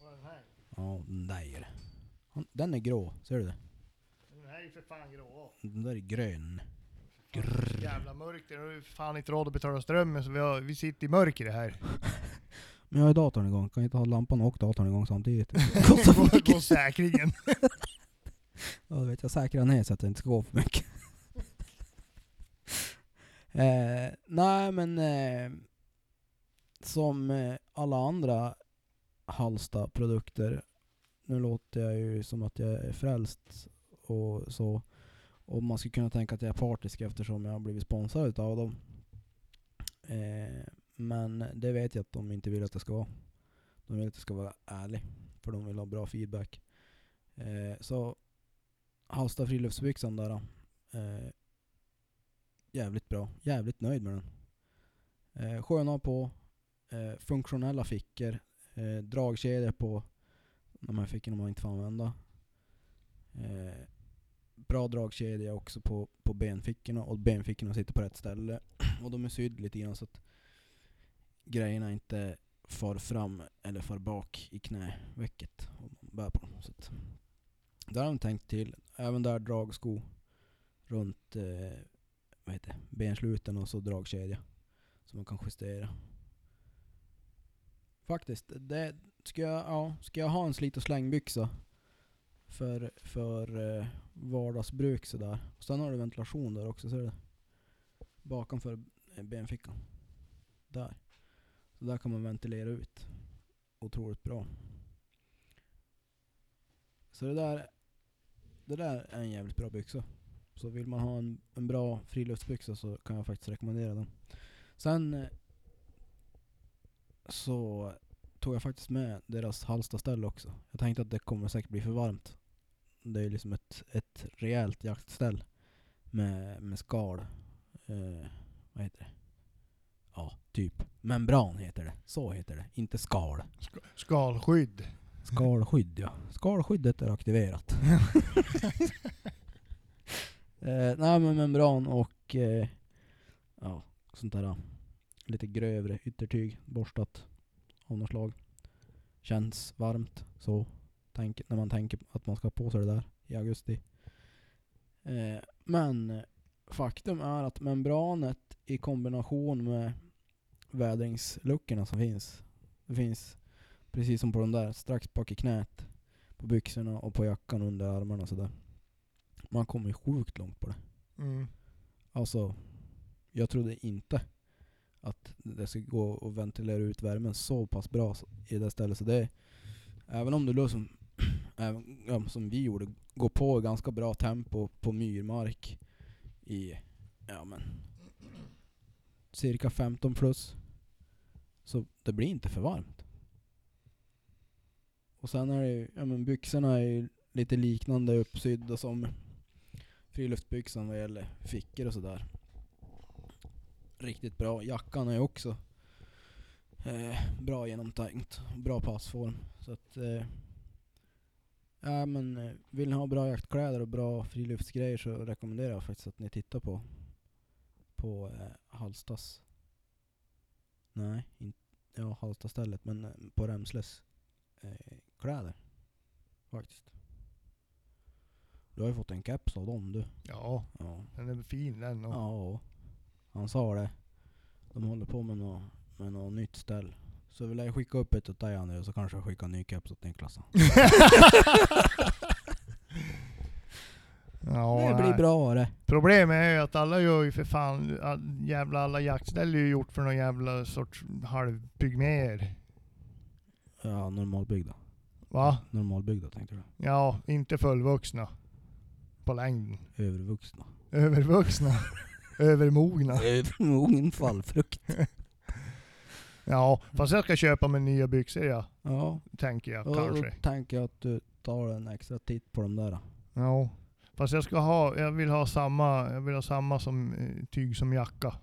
Speaker 2: Och Den här,
Speaker 1: Ja, den där är det. Han- Den är grå, ser du det?
Speaker 2: den här är ju för fan grå.
Speaker 1: Den där är grön.
Speaker 2: Fan, så Jävla mörkt, det har vi fan inte råd att betala strömmen så vi, har, vi sitter i mörker här.
Speaker 1: Men jag har ju datorn igång, kan jag inte ha lampan och datorn
Speaker 2: <laughs>
Speaker 1: igång samtidigt? <laughs> Kostar för
Speaker 2: Går
Speaker 1: mycket.
Speaker 2: går säkringen.
Speaker 1: Ja, du vet, jag säkrar ner så att det inte ska gå för mycket. eh, nej, men eh, som eh, alla andra Halsta-produkter, nu låter jag ju som att jag är frälst och så. Och man skulle kunna tänka att jag är partisk eftersom jag har blivit sponsrad utav dem. Eh, men det vet jag att de inte vill att det ska vara. De vill att det ska vara ärlig, för de vill ha bra feedback. Eh, så Halsta friluftsbyxan där. då. Eh, jävligt bra. Jävligt nöjd med den. Eh, sköna på. Eh, funktionella fickor. Eh, dragkedjor på de här fickorna man inte får använda. Eh, bra dragkedja också på, på benfickorna och benfickorna sitter på rätt ställe. <clears throat> Och de är sydda lite grann så att grejerna inte far fram eller far bak i knävecket om man bär på dem. Så att där har de tänkt till. Även där dragsko runt eh, vad heter det, bensluten och så dragkedja. Som man kan justera. Faktiskt, det, ska, jag, ja, ska jag ha en slit och slängbyxa för, för eh, vardagsbruk sådär. Och sen har du ventilation där också, ser du det? Bakomför eh, benfickan. Där. Så där kan man ventilera ut. Otroligt bra. Så det där, det där är en jävligt bra byxa. Så vill man ha en, en bra friluftsbyxa så kan jag faktiskt rekommendera den. Sen eh, så tog jag faktiskt med deras Halstaställ också. Jag tänkte att det kommer säkert bli för varmt. Det är ju liksom ett, ett rejält jaktställ med, med skal. Eh, vad heter det? Ja, typ. Membran heter det. Så heter det. Inte skal.
Speaker 2: Sk- Skalskydd.
Speaker 1: Skalskydd ja. Skalskyddet är aktiverat. eh, nej men membran och eh, ja, sånt där eh, lite grövre yttertyg borstat av något slag. Känns varmt så. Tänk, när man tänker att man ska ha på sig det där i augusti. Eh, men eh, faktum är att membranet i kombination med vädringsluckorna som finns. Det finns Precis som på den där, strax bak i knät. På byxorna och på jackan under armarna och sådär. Man kommer ju sjukt långt på det.
Speaker 2: Mm.
Speaker 1: Alltså, jag trodde inte att det skulle gå att ventilera ut värmen så pass bra så- i det stället. Så det, även om du då som, <clears throat> även, ja, som vi gjorde, går på i ganska bra tempo på myrmark i, ja men, cirka 15 plus. Så det blir inte för varmt. Och sen är det ju, ja men byxorna är ju lite liknande uppsydda som friluftsbyxan vad gäller fickor och sådär. Riktigt bra. Jackan är också eh, bra genomtänkt. Bra passform. Så att, eh, ja, men, eh, vill ni ha bra jaktkläder och bra friluftsgrejer så rekommenderar jag faktiskt att ni tittar på på eh, Halstas. Nej, inte ja, Halstastället men eh, på Remsles eh, kläder. Faktiskt. Du har ju fått en keps av dem du.
Speaker 2: Ja,
Speaker 1: Ja.
Speaker 2: den är fin den. Och,
Speaker 1: ja. Han sa det. De håller på med något, med något nytt ställ. Så vill jag skicka upp ett åt dig André, så kanske jag skickar en ny keps åt Niklas.
Speaker 2: <laughs> Ja,
Speaker 1: det blir
Speaker 2: nej.
Speaker 1: bra det.
Speaker 2: Problemet är ju att alla gör ju för fan, all, jävla alla jaktställ är ju gjort för någon jävla sorts halvpygméer.
Speaker 1: Ja, normalbyggda.
Speaker 2: Va?
Speaker 1: Normalbyggda tänkte du.
Speaker 2: Ja, inte fullvuxna. På längden.
Speaker 1: Övervuxna. <laughs>
Speaker 2: Övervuxna. Övermogna.
Speaker 1: Övermogen fallfrukt.
Speaker 2: Ja, fast jag ska köpa mig nya byxor ja,
Speaker 1: Ja,
Speaker 2: tänker jag
Speaker 1: och då
Speaker 2: kanske.
Speaker 1: tänker jag att du tar en extra titt på de där. då.
Speaker 2: Ja. Fast jag ska ha, jag vill ha samma, jag vill ha samma som, eh, tyg som jacka.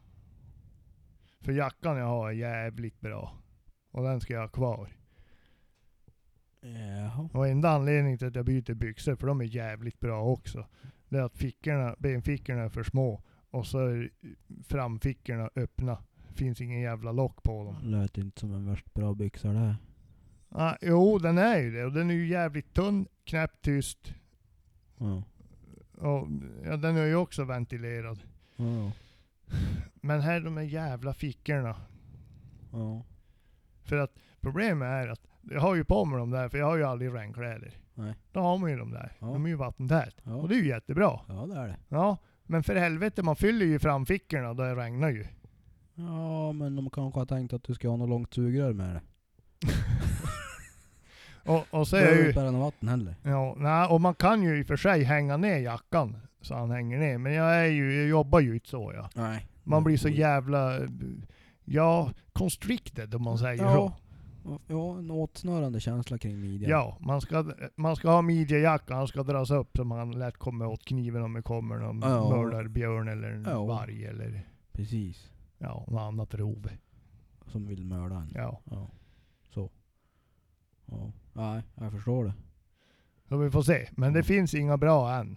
Speaker 2: För jackan jag har är jävligt bra. Och den ska jag ha kvar.
Speaker 1: Jaha.
Speaker 2: Och enda anledningen till att jag byter byxor, för de är jävligt bra också, det är att fickorna, benfickorna är för små och så är framfickorna öppna. Finns ingen jävla lock på dem.
Speaker 1: Lät inte som en värst bra byxa det här.
Speaker 2: Ah, jo, den är ju det. Och den är ju jävligt tunn, knäpptyst.
Speaker 1: Ja.
Speaker 2: Och, ja, den är ju också ventilerad.
Speaker 1: Ja.
Speaker 2: Men här de här jävla fickorna.
Speaker 1: ja.
Speaker 2: För att problemet är att jag har ju på mig dem där, för jag har ju aldrig regnkläder.
Speaker 1: Nej.
Speaker 2: Då har man ju dem där.
Speaker 1: Ja.
Speaker 2: De är ju vattentät.
Speaker 1: Ja.
Speaker 2: Och det är ju jättebra.
Speaker 1: ja, det är det.
Speaker 2: Ja, men för helvete, man fyller ju framfickorna då det regnar ju.
Speaker 1: Ja, men de kanske har tänkt att du ska ha något långt sugrör med dig.
Speaker 2: Och, och så
Speaker 1: Det
Speaker 2: är jag
Speaker 1: behöver
Speaker 2: ju...
Speaker 1: inte bära något vatten heller.
Speaker 2: Ja, nej, och man kan ju i och för sig hänga ner jackan så han hänger ner. Men jag, är ju, jag jobbar ju inte så ja.
Speaker 1: Nej.
Speaker 2: Man blir så
Speaker 1: Oj.
Speaker 2: jävla... Ja, constricted om man säger så.
Speaker 1: Ja. Ja, en åtsnörande känsla kring midjan.
Speaker 2: Ja, man ska, man ska ha midjejacka, han ska dras upp så man lätt kommer åt kniven om det kommer någon
Speaker 1: Ja.
Speaker 2: mördar björn eller en
Speaker 1: Ja.
Speaker 2: varg eller
Speaker 1: Precis.
Speaker 2: ja, något annat rov.
Speaker 1: Som vill mörda en.
Speaker 2: Ja.
Speaker 1: Ja. Så. Ja. Nej, jag förstår det.
Speaker 2: Så vi får se. Men det
Speaker 1: Ja.
Speaker 2: finns inga bra än.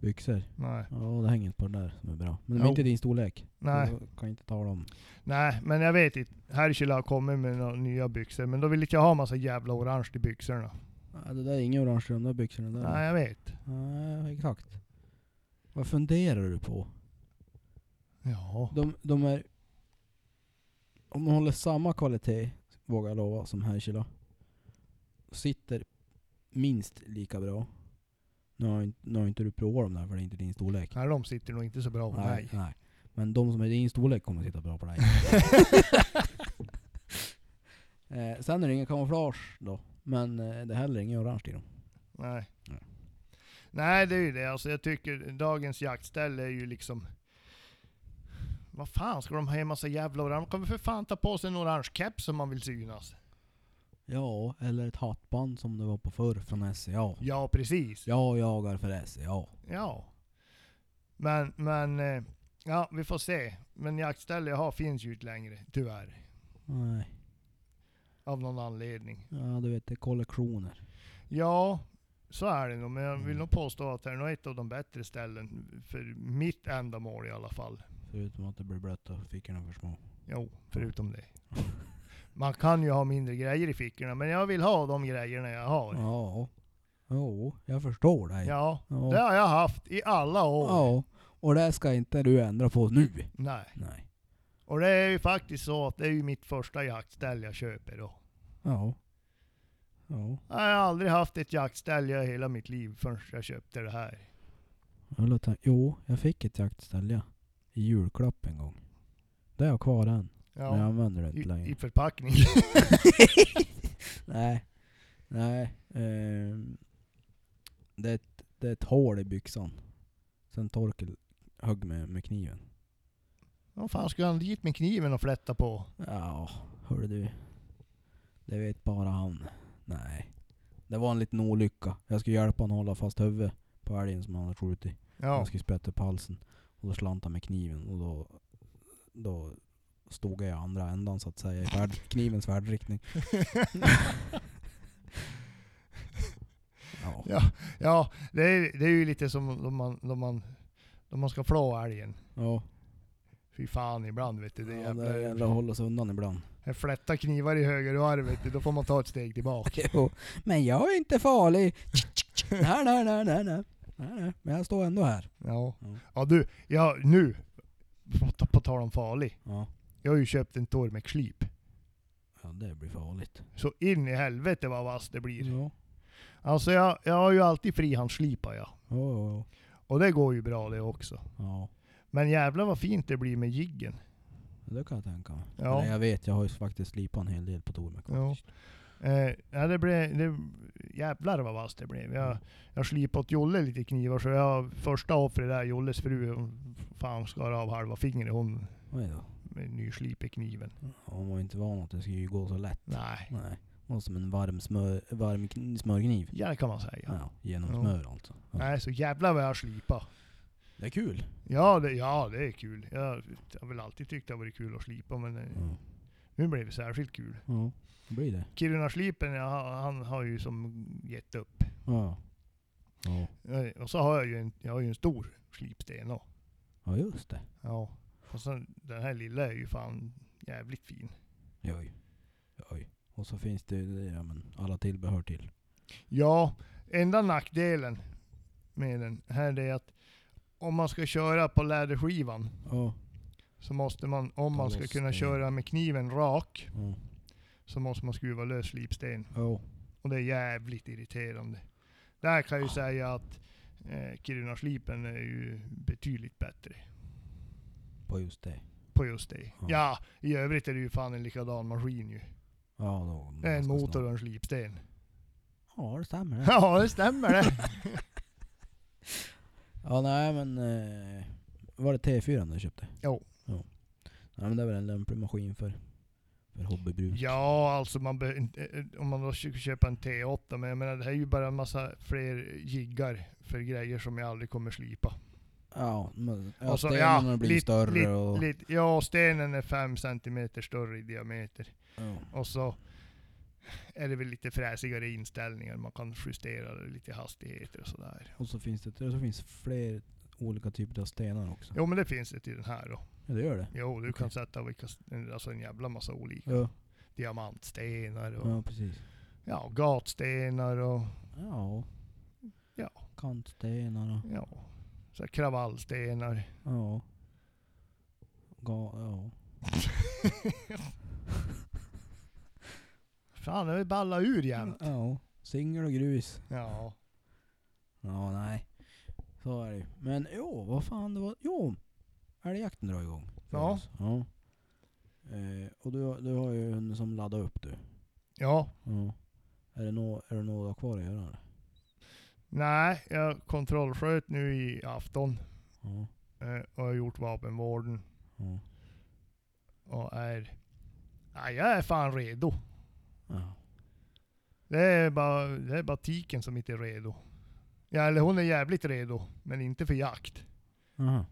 Speaker 1: Byxor.
Speaker 2: Nej.
Speaker 1: Ja, det hänger inte på den där som är bra. Men de är
Speaker 2: Jo.
Speaker 1: inte din storlek.
Speaker 2: Nej.
Speaker 1: Så Då kan jag inte ta dem.
Speaker 2: Nej, men jag vet inte. Herkila har kommit med några nya byxor, men då vill inte jag ha massa jävla orange i byxorna.
Speaker 1: Nej, det där är ingen orange i de där byxorna där.
Speaker 2: Nej, jag vet.
Speaker 1: Nej, exakt. Vad funderar du på?
Speaker 2: Ja.
Speaker 1: De, de är... Om de håller samma kvalitet, vågar jag lova, som Herkila. Sitter minst lika bra. Nu har, inte, nu har inte du provat dem där för det är inte din storlek.
Speaker 2: Nej, de sitter nog inte så bra på mig.
Speaker 1: nej. Men de som är i din storlek kommer sitta bra på <laughs> dig. eh, sen är det ingen kamouflage då. Men eh, det är heller ingen orange i dem.
Speaker 2: Nej.
Speaker 1: Nej.
Speaker 2: Nej, det är ju det. Alltså, jag tycker dagens jaktställe är ju liksom... Vad fan ska de ha en massa jävla orange? Kommer för fan ta på sig en orange keps om man vill synas.
Speaker 1: Ja, eller ett hattband som det var på förr från SCA.
Speaker 2: Ja, precis.
Speaker 1: Jag jagar för E SCA.
Speaker 2: Ja. Men, men... eh, Ja, vi får se. Men jaktställe jag har finns ju inte längre, tyvärr.
Speaker 1: Nej,
Speaker 2: Av någon anledning.
Speaker 1: ja, du vet det är kollektioner.
Speaker 2: Ja, så är det nog. Men jag vill
Speaker 1: Mm.
Speaker 2: nog påstå att det är nog ett av de bättre ställen för mitt ändamål i alla fall.
Speaker 1: Förutom att det blir blött och fickorna för små.
Speaker 2: Jo, förutom det. Man kan ju ha mindre grejer i fickorna, men jag vill ha de grejerna jag har.
Speaker 1: Ja. Jo, jag förstår dig.
Speaker 2: Ja,
Speaker 1: Ja.
Speaker 2: det har jag haft i alla år.
Speaker 1: ja. Och det ska inte du ändra på nu.
Speaker 2: Nej.
Speaker 1: Nej.
Speaker 2: Och det är ju faktiskt så att det är ju mitt första jaktställ jag köper då.
Speaker 1: Ja. Ja.
Speaker 2: Jag har aldrig haft ett jaktställ i hela mitt liv förrän jag köpte det här.
Speaker 1: Jag låter, jo, jag fick ett jaktställ ja. I julklapp en gång. Det har jag kvar än. Men jag
Speaker 2: Ja,
Speaker 1: använder det
Speaker 2: i,
Speaker 1: inte längre.
Speaker 2: i förpackning.
Speaker 1: Nej. Nej. ehm, det, är ett, det är ett hål i byxan. Sen Torkel högg med, med kniven.
Speaker 2: <laughs> Vad fan ska han dit med kniven och flätta på?
Speaker 1: Ja, hör du. Det vet bara han. Nej. Det var en liten olycka. Jag skulle hjälpa honom hålla fast huvudet på älgen som han hade skjutit.
Speaker 2: Ja.
Speaker 1: Jag skulle sprätta upp halsen. Och då slant han med kniven och då, då stod jag i andra ändan så att säga,
Speaker 2: <laughs>
Speaker 1: i färd, knivens färdriktning. Ja.
Speaker 2: Ja, <laughs> ja det, är, det är ju lite som då man, då man, då man ska flå älgen.
Speaker 1: Ja.
Speaker 2: Fy fan ibland vet du. Det
Speaker 1: ja,
Speaker 2: jävla,
Speaker 1: det gäller att hålla sig undan ibland. <laughs>
Speaker 2: jag flättar knivar i högervarvet, då får man ta ett steg tillbaka.
Speaker 1: Jo, men jag är
Speaker 2: <laughs>
Speaker 1: inte farlig. Nej, nej, nej, nej, nej. Nej, nej. Men jag står ändå här.
Speaker 2: Ja.
Speaker 1: Ja.
Speaker 2: ja du, ja, nu. På, ta- på tal om farlig.
Speaker 1: Ja,
Speaker 2: Jag har ju köpt en Tormek-slip.
Speaker 1: ja det blir farligt.
Speaker 2: Så in i helvete vad vass det blir.
Speaker 1: Ja,
Speaker 2: Alltså jag, jag har ju alltid frihandsslipat jag.
Speaker 1: ja, ja.
Speaker 2: Och det går ju bra det också.
Speaker 1: ja.
Speaker 2: Men jävlar vad fint det blir med jiggen.
Speaker 1: Det kan jag tänka mig.
Speaker 2: Ja.
Speaker 1: Eller jag vet, jag har ju faktiskt slipat en hel del på Tormek.
Speaker 2: Ja.
Speaker 1: faktiskt.
Speaker 2: Eh, ja, det blev, det, jävlar vad vass det blev. Jag, jag slipade åt Jolle lite knivar, så jag första offret där, Jolles fru, hon fan skar av halva fingret. Hon
Speaker 1: Oj då.
Speaker 2: med nyslipig kniven.
Speaker 1: Hon var ju inte van att det skulle gå så lätt.
Speaker 2: Nej,
Speaker 1: Nej. Det var som en varm, smör, varm kn- smörkniv.
Speaker 2: ja det kan man säga.
Speaker 1: Ja, genom
Speaker 2: Ja.
Speaker 1: smör alltså. Ja.
Speaker 2: Nej, så jävlar vad jag slipar.
Speaker 1: Det är kul.
Speaker 2: Ja det, ja, det är kul. Jag har väl alltid tyckt det har varit kul att slipa, men eh,
Speaker 1: Ja.
Speaker 2: nu blev det särskilt kul.
Speaker 1: ja, det blir det.
Speaker 2: Kiruna-slipen, jag har- han har ju som gett upp.
Speaker 1: Ja. Ja,
Speaker 2: Eh, Och så har jag ju en, jag har ju en stor slipsten då.
Speaker 1: ja just det.
Speaker 2: Ja. Och sen den här lilla är ju fan jävligt fin.
Speaker 1: Oj. Oj. Och så finns det ju det, ja, men alla tillbehör till.
Speaker 2: Ja, enda nackdelen med den här är att om man ska köra på läderskivan
Speaker 1: Ja.
Speaker 2: så måste man, om
Speaker 1: Ta
Speaker 2: man ska
Speaker 1: loss
Speaker 2: kunna
Speaker 1: stenen.
Speaker 2: köra med kniven rak,
Speaker 1: Ja.
Speaker 2: så måste man skruva lös slipsten.
Speaker 1: Ja.
Speaker 2: Och det är jävligt irriterande. Där kan jag
Speaker 1: Ah.
Speaker 2: ju säga att eh, Kiruna-slipen är ju betydligt bättre
Speaker 1: På just det.
Speaker 2: på just det.
Speaker 1: Ja.
Speaker 2: Ja, i övrigt är det ju fan en likadan maskin ju.
Speaker 1: Ja, då.
Speaker 2: Det är en
Speaker 1: ganska
Speaker 2: motor
Speaker 1: snart.
Speaker 2: och en slipsten.
Speaker 1: Ja,
Speaker 2: <laughs>
Speaker 1: det stämmer det.
Speaker 2: Ja, det stämmer det.
Speaker 1: Ja, nej men... Eh, var det T4 du köpte?
Speaker 2: Jo.
Speaker 1: Ja. Nej men det är väl en lämplig maskin för, för hobbybruk.
Speaker 2: Ja, alltså man be- inte- eh, om man då ska köpa en T8, men jag menar det här är ju bara en massa fler jiggar för grejer som jag aldrig kommer slipa.
Speaker 1: Ja, men ja,
Speaker 2: Och så-
Speaker 1: stenarna blir
Speaker 2: lite-
Speaker 1: större
Speaker 2: lite-
Speaker 1: och...
Speaker 2: lite- ja, stenen är 5 cm större i diameter.
Speaker 1: Ja.
Speaker 2: Och så är det väl lite fräsigare inställningar, man kan justera det lite i hastigheter och sådär.
Speaker 1: Och så finns det så finns fler olika typer av stenar också.
Speaker 2: Jo men det finns det till den här då.
Speaker 1: Ja, det gör det.
Speaker 2: Jo, du
Speaker 1: Okej.
Speaker 2: kan sätta vilka, alltså en jävla massa olika.
Speaker 1: Ja,
Speaker 2: Diamantstenar och
Speaker 1: ja precis.
Speaker 2: ja, gatstenar och
Speaker 1: Ja.
Speaker 2: Ja.
Speaker 1: Kantstenar och...
Speaker 2: ja, så här
Speaker 1: <laughs>
Speaker 2: kravallstenar.
Speaker 1: Ja. Ga, ja.
Speaker 2: Fan, det har ju ballat ur jämt.
Speaker 1: Ja. Singel och grus.
Speaker 2: Ja.
Speaker 1: Ja, nej. Så är det ju. Men jo, vad fan det var. Jo! Älgjakten drar igång. för
Speaker 2: Ja.
Speaker 1: oss. ja. Eh, och du, du har ju en som laddar upp du.
Speaker 2: Ja.
Speaker 1: Ja. Är det något är det nå kvar att göra? eller?
Speaker 2: Nej, jag kontrollsköt nu i afton
Speaker 1: Ja.
Speaker 2: eh, och har gjort vapenvården
Speaker 1: Ja.
Speaker 2: och är... Nej, jag är fan redo.
Speaker 1: ja.
Speaker 2: Det är bara, det är bara tiken som inte är redo. Ja, eller hon är jävligt redo, men inte för jakt.
Speaker 1: Aha.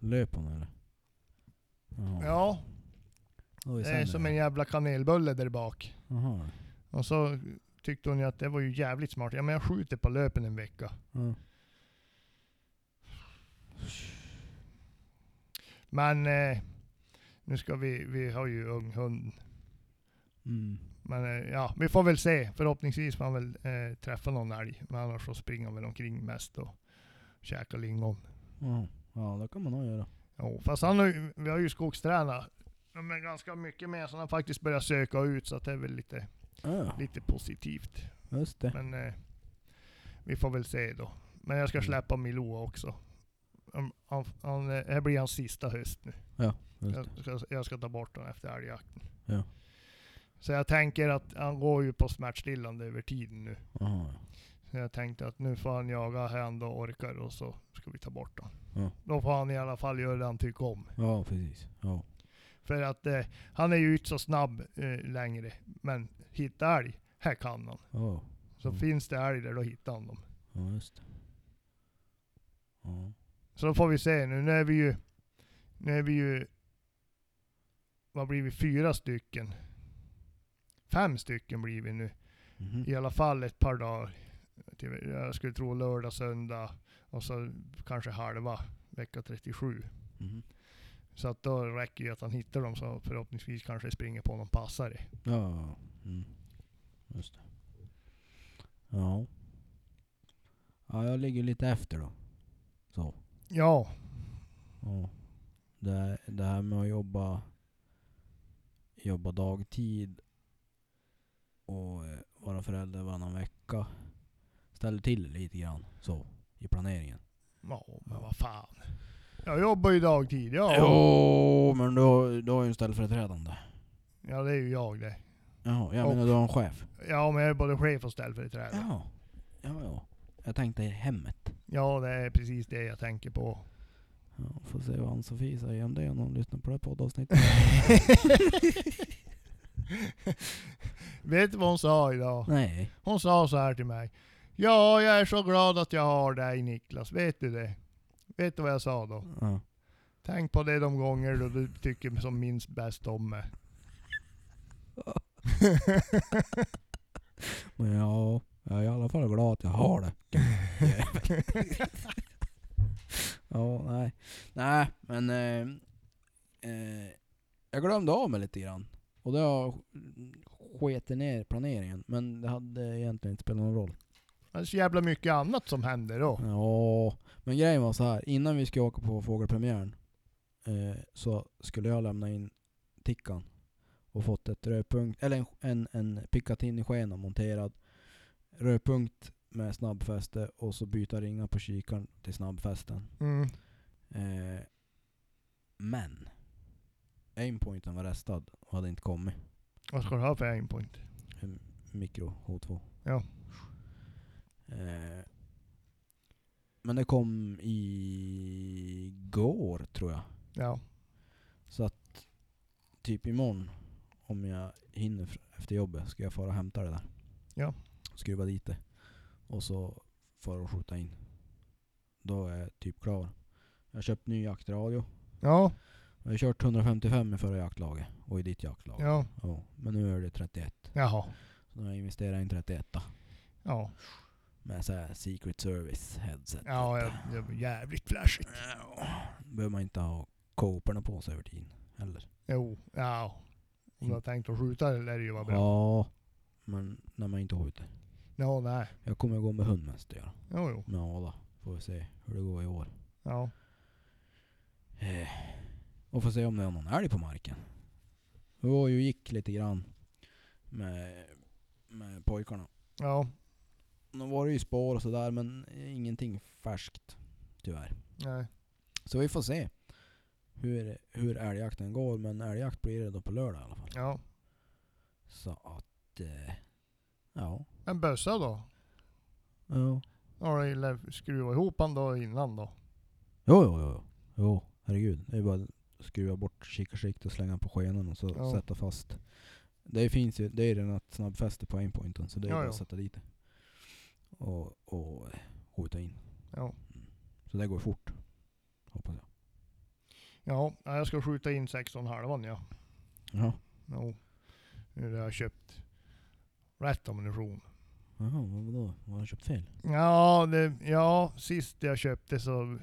Speaker 1: Löp hon eller? Jaha.
Speaker 2: Ja,
Speaker 1: Det var ju
Speaker 2: det är
Speaker 1: sämre.
Speaker 2: som en jävla kanelbulle där bak.
Speaker 1: Jaha.
Speaker 2: Och så tyckte hon ju att det var ju jävligt smart. Ja, men jag skjuter på löpen en vecka.
Speaker 1: Ja.
Speaker 2: Men eh, nu ska vi, vi har ju ung hund.
Speaker 1: Mm.
Speaker 2: Men eh, ja, vi får väl se. Förhoppningsvis får han väl eh, träffa någon älg. Men annars så springer han väl omkring mest och käkar lingon.
Speaker 1: Jaha. Ja, det kan man nog göra.
Speaker 2: Jo, fast han har ju, vi har ju skogstränat. De är ganska mycket mer så han faktiskt börjar söka ut så att det är väl lite,
Speaker 1: Ja,
Speaker 2: lite positivt.
Speaker 1: just det.
Speaker 2: Men eh, vi får väl se då. Men jag
Speaker 1: Mm.
Speaker 2: ska släppa Milua också. Han, han, han, eh, det här blir hans sista höst nu.
Speaker 1: Just det.
Speaker 2: Jag ska, jag ska ta bort honom efter älgjakten.
Speaker 1: Ja.
Speaker 2: Så jag tänker att han går ju på smärtstillande över tiden nu.
Speaker 1: Jaha.
Speaker 2: Så jag tänkte att nu får han jaga här han då orkar och så ska vi ta bort honom.
Speaker 1: Ja.
Speaker 2: Då får han i alla fall göra det han tycker om.
Speaker 1: Ja, precis. Ja.
Speaker 2: För att eh, han är ju inte så snabb eh, längre. Men hitta älg, här kan han.
Speaker 1: Ja.
Speaker 2: Så
Speaker 1: Mm.
Speaker 2: finns det älg där då hittar han dem.
Speaker 1: Ja, just det. Ja.
Speaker 2: Så då får vi se nu. Nu är vi ju... Nu är vi ju... Vad blir vi? Fyra stycken. Fem stycken blir vi nu.
Speaker 1: Mhm.
Speaker 2: I alla fall ett par dagar. Till- Jag skulle tro lördag, söndag och så kanske halva vecka 37.
Speaker 1: Mhm.
Speaker 2: Så att då räcker ju att han hittar dem så förhoppningsvis kanske springer på någon passare.
Speaker 1: Ja. Mm. Just det. Ja. Ja, jag ligger lite efter då. Så.
Speaker 2: Ja,
Speaker 1: Ja. Det, här- det här med att jobba, jobba dagtid och eh, vara förälder varannan vecka ställer till det lite grann så i planeringen.
Speaker 2: ja men vad fan. Jag jobbar ju dagtid, ja.
Speaker 1: Jo, men du har, du har ju en ställföreträdande.
Speaker 2: Ja det är ju jag det.
Speaker 1: Jaha, jag
Speaker 2: Och-
Speaker 1: menar du har en chef?
Speaker 2: Ja men jag är både chef och ställföreträdare.
Speaker 1: Ja. Ja, ja. Jag tänkte i hemmet.
Speaker 2: Ja det är precis det jag tänker på.
Speaker 1: Ja, får se vad Ann-Sofie säger om det om hon lyssnar på det här poddavsnittet.
Speaker 2: Vet du vad hon sa idag?
Speaker 1: <laughs> Nej.
Speaker 2: Hon sa så här till mig. Ja, jag är så glad att jag har dig Niklas. Vet du det? Vet du vad jag sa då?
Speaker 1: Ja.
Speaker 2: Tänk på det de gånger då du tycker som minst bäst om mig.
Speaker 1: Men ja, jag är i alla fall glad att jag har det. <laughs> ja, nej. Nej, men eh, eh, jag glömde av mig lite grann. Och det har sket ner planeringen. Men det hade egentligen inte spelat någon roll.
Speaker 2: Det är så jävla mycket annat som händer då.
Speaker 1: Ja, men grejen var så här. Innan vi skulle åka på fågelpremiären eh, så skulle jag lämna in tickan och fått ett rödpunkt, eller en, en, en Picatinny-skena monterad. Rödpunkt med snabbfäste och så byta ringar på kikaren till snabbfästen.
Speaker 2: Mm.
Speaker 1: Eh, men aimpointen var restad och hade inte kommit.
Speaker 2: Vad ska du ha för aimpoint?
Speaker 1: En Mikro H2.
Speaker 2: Ja.
Speaker 1: Eh, men det kom igår tror jag.
Speaker 2: Ja.
Speaker 1: Så att typ imorgon, om jag hinner fr- efter jobbet, ska jag fara och hämta det där.
Speaker 2: Ja.
Speaker 1: Skruva dit det. Och så fara och skjuta in. Då är jag typ klar. Jag har köpt ny jaktradio.
Speaker 2: Ja.
Speaker 1: Jag har kört 155 i förra jaktlaget och i ditt jaktlag.
Speaker 2: Ja.
Speaker 1: Ja, men nu är det 31.
Speaker 2: Jaha.
Speaker 1: Så nu har jag investerat i en 31
Speaker 2: Ja.
Speaker 1: med så här Secret Service headset.
Speaker 2: Ja,
Speaker 1: vet
Speaker 2: ja, det var jävligt flashigt.
Speaker 1: du. behöver man inte ha kåporna på sig över tiden heller.
Speaker 2: Jo. Ja. Om du har tänkt att skjuta det lär det ju vara bra.
Speaker 1: Ja, men när man inte skjuter.
Speaker 2: Ja, nej.
Speaker 1: Jag kommer gå med hund mest jag.
Speaker 2: Jo, jo.
Speaker 1: Med Ada. Får vi se hur det går i år.
Speaker 2: Ja.
Speaker 1: Eh, Och får se om det är någon älg på marken. Vi var ju och gick lite grann med, med pojkarna.
Speaker 2: Ja.
Speaker 1: De var det ju spår och sådär men ingenting färskt. Tyvärr.
Speaker 2: Nej.
Speaker 1: Så vi får se hur, hur älgjakten går. Men älgjakt blir det då på lördag i alla fall.
Speaker 2: Ja.
Speaker 1: Så att... Eh, ja.
Speaker 2: Men bössa då?
Speaker 1: Jo,
Speaker 2: Har du lär- skruvat ihop han då innan då?
Speaker 1: jo, jo. jo. jo herregud. Det är bara att skruva bort kikarsiktet och slänga på skenan och så
Speaker 2: Ja.
Speaker 1: sätta fast. Det finns ju, det är redan ett snabbfäste på aimpointen så det är
Speaker 2: Ja,
Speaker 1: bara
Speaker 2: ja.
Speaker 1: att sätta dit det. Och, och eh, skjuta in.
Speaker 2: Ja.
Speaker 1: Så det går fort. Hoppas jag.
Speaker 2: Ja, ja, jag ska skjuta in 16,5 ja.
Speaker 1: Jaha.
Speaker 2: Jo. Nu har jag köpt rätt ammunition.
Speaker 1: Jaha, vad- vadå? Vad har jag köpt fel?
Speaker 2: Ja, det, ja, sist jag köpte så...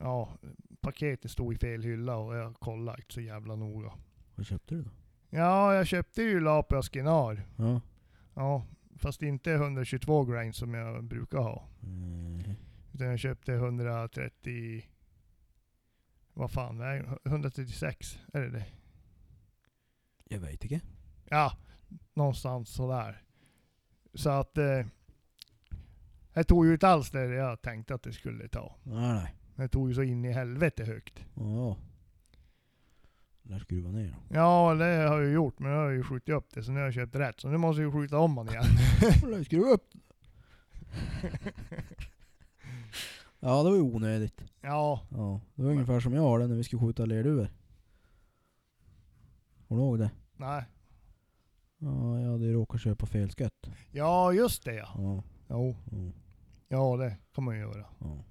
Speaker 2: Ja, paketet stod i fel hylla och jag kollade inte så jävla noga.
Speaker 1: Vad köpte du då?
Speaker 2: Ja, jag köpte ju Lapia Skinar.
Speaker 1: Ja.
Speaker 2: Ja, fast inte 122 grain som jag brukar ha.
Speaker 1: Mm.
Speaker 2: Utan jag köpte 130... Vad fan väger 136, är det det?
Speaker 1: Jag vet inte.
Speaker 2: Ja, någonstans sådär. Så att... Eh, jag tog ju inte alls det jag tänkte att det skulle ta.
Speaker 1: Nej, nej.
Speaker 2: Det tog ju så in i helvete högt.
Speaker 1: Ja. Lär skruva ner då.
Speaker 2: Ja, det har jag ju gjort, men jag har ju skjutit upp det, så nu har jag köpt rätt. Så nu måste jag ju skjuta om han
Speaker 1: <laughs>
Speaker 2: igen.
Speaker 1: Eller skruva upp Ja det var ju onödigt.
Speaker 2: Ja,
Speaker 1: Ja, det var ungefär som jag har det när vi skulle skjuta lerduvor. Kommer du ihåg det?
Speaker 2: nej.
Speaker 1: Ja, jag hade ju råkat köpa fel skott.
Speaker 2: Ja, just det ja.
Speaker 1: Ja,
Speaker 2: Jo,
Speaker 1: ja,
Speaker 2: ja det kan man ju göra.
Speaker 1: ja.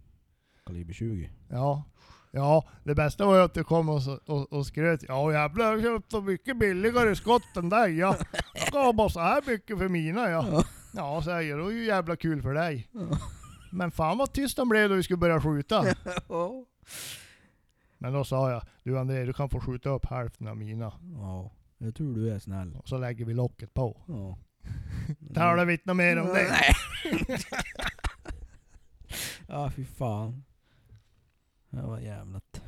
Speaker 1: Kaliber 20.
Speaker 2: Ja. Ja, det bästa var ju att du kom och, så- och, och skröt. Ja jävlar, jag har köpt så mycket billigare skott än dig. Ja. Jag gav bara så här mycket för mina ja. Ja, säger jag. Det var ju jävla kul för dig. Men fan vad tyst de blev då vi skulle börja skjuta.
Speaker 1: Ja.
Speaker 2: Men då sa jag, du André, du kan få skjuta upp hälften av mina.
Speaker 1: Ja, jag tror du är snäll.
Speaker 2: Och så lägger vi locket på.
Speaker 1: Ja.
Speaker 2: Talar vi inte något mer om det?
Speaker 1: Mm. Nej. ja, fy fan. Det var jävligt.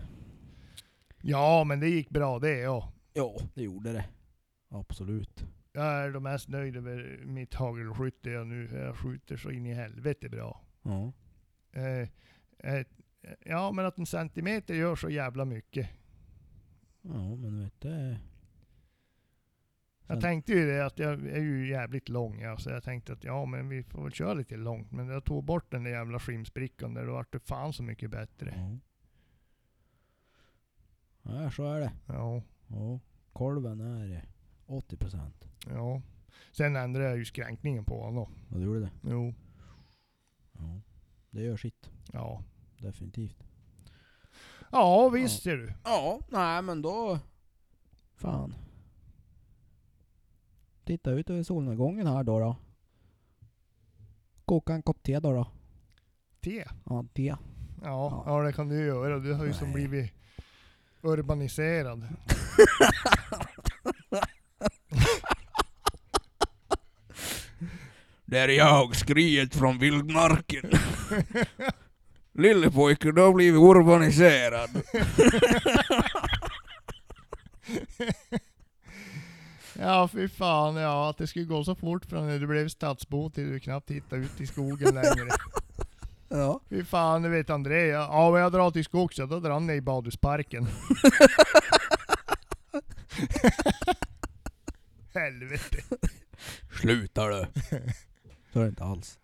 Speaker 2: Ja, men det gick bra det ja.
Speaker 1: Ja, det gjorde det. Absolut.
Speaker 2: Jag är de mest nöjd över mitt hagelskytte jag nu. Jag skjuter så in i helvete bra.
Speaker 1: Ja.
Speaker 2: Eh, eh, ja, men att en centimeter gör så jävla mycket.
Speaker 1: Ja, men du vet det...
Speaker 2: Jag
Speaker 1: Sen-
Speaker 2: tänkte ju det, att jag är ju jävligt lång. Ja, så jag tänkte att ja, men vi får väl köra lite
Speaker 1: Mm.
Speaker 2: långt. Men jag tog bort den där jävla skimsprickan där, då vart det fan så mycket bättre.
Speaker 1: Ja. Nej, så är det.
Speaker 2: Ja.
Speaker 1: Ja. Kolven är 80%.
Speaker 2: ja. Sen ändrade jag ju skränkningen på honom. då.
Speaker 1: Ja, du gjorde det?
Speaker 2: Jo.
Speaker 1: Ja. Det gör sitt.
Speaker 2: Ja.
Speaker 1: Definitivt.
Speaker 2: Ja, visst ser du.
Speaker 1: Ja, nej men då... Fan. Titta ut över solnedgången här då. då. Koka en kopp te då. då.
Speaker 2: Te.
Speaker 1: Ja, te.
Speaker 2: Ja, ja. det kan du ju göra. Du har ju som
Speaker 1: Nej.
Speaker 2: blivit <laughs> urbaniserad.
Speaker 1: Det är jag, skriet från vildmarken. <laughs> Lille pojken, du har blivit urbaniserad.
Speaker 2: Ja, fy fan. Ja, att det skulle gå så fort från när du blev stadsbo till du knappt hittade ut i skogen <laughs> längre.
Speaker 1: Ja.
Speaker 2: Fy fan, det vet André. Ja, Ja, men jag drar till skogs. Ja, då drar han ner i <laughs> badhusparken. Helvete.
Speaker 1: Sluta <laughs> du. Så är det inte alls.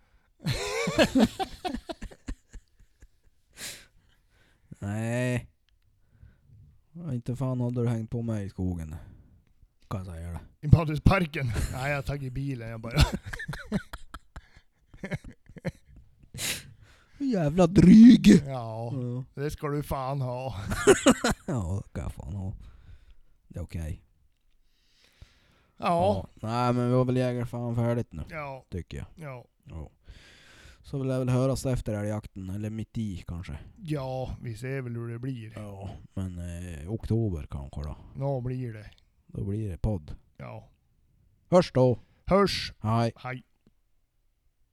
Speaker 1: Nej. Inte fan hade du hängt på mig i skogen. Kan jag säga det.
Speaker 2: I badhusparken? Nej, jag har tagit bilen. Jag bara...
Speaker 1: Jävla dryg!
Speaker 2: Ja,
Speaker 1: Ja,
Speaker 2: det ska du fan ha.
Speaker 1: ja det kan jag fan ha. Det är okej.
Speaker 2: Ja,
Speaker 1: Nej men vi har väl jägarfan färdigt nu.
Speaker 2: ja,
Speaker 1: Tycker jag.
Speaker 2: ja,
Speaker 1: Ja. Så vill jag väl höras efter älgjakten. Eller mitt i kanske.
Speaker 2: ja, vi ser väl hur det blir.
Speaker 1: Ja. Men eh, oktober kanske då.
Speaker 2: Nå blir det.
Speaker 1: Då blir det podd.
Speaker 2: Ja.
Speaker 1: Hörs då!
Speaker 2: Hörs!
Speaker 1: Hej!
Speaker 2: Hej!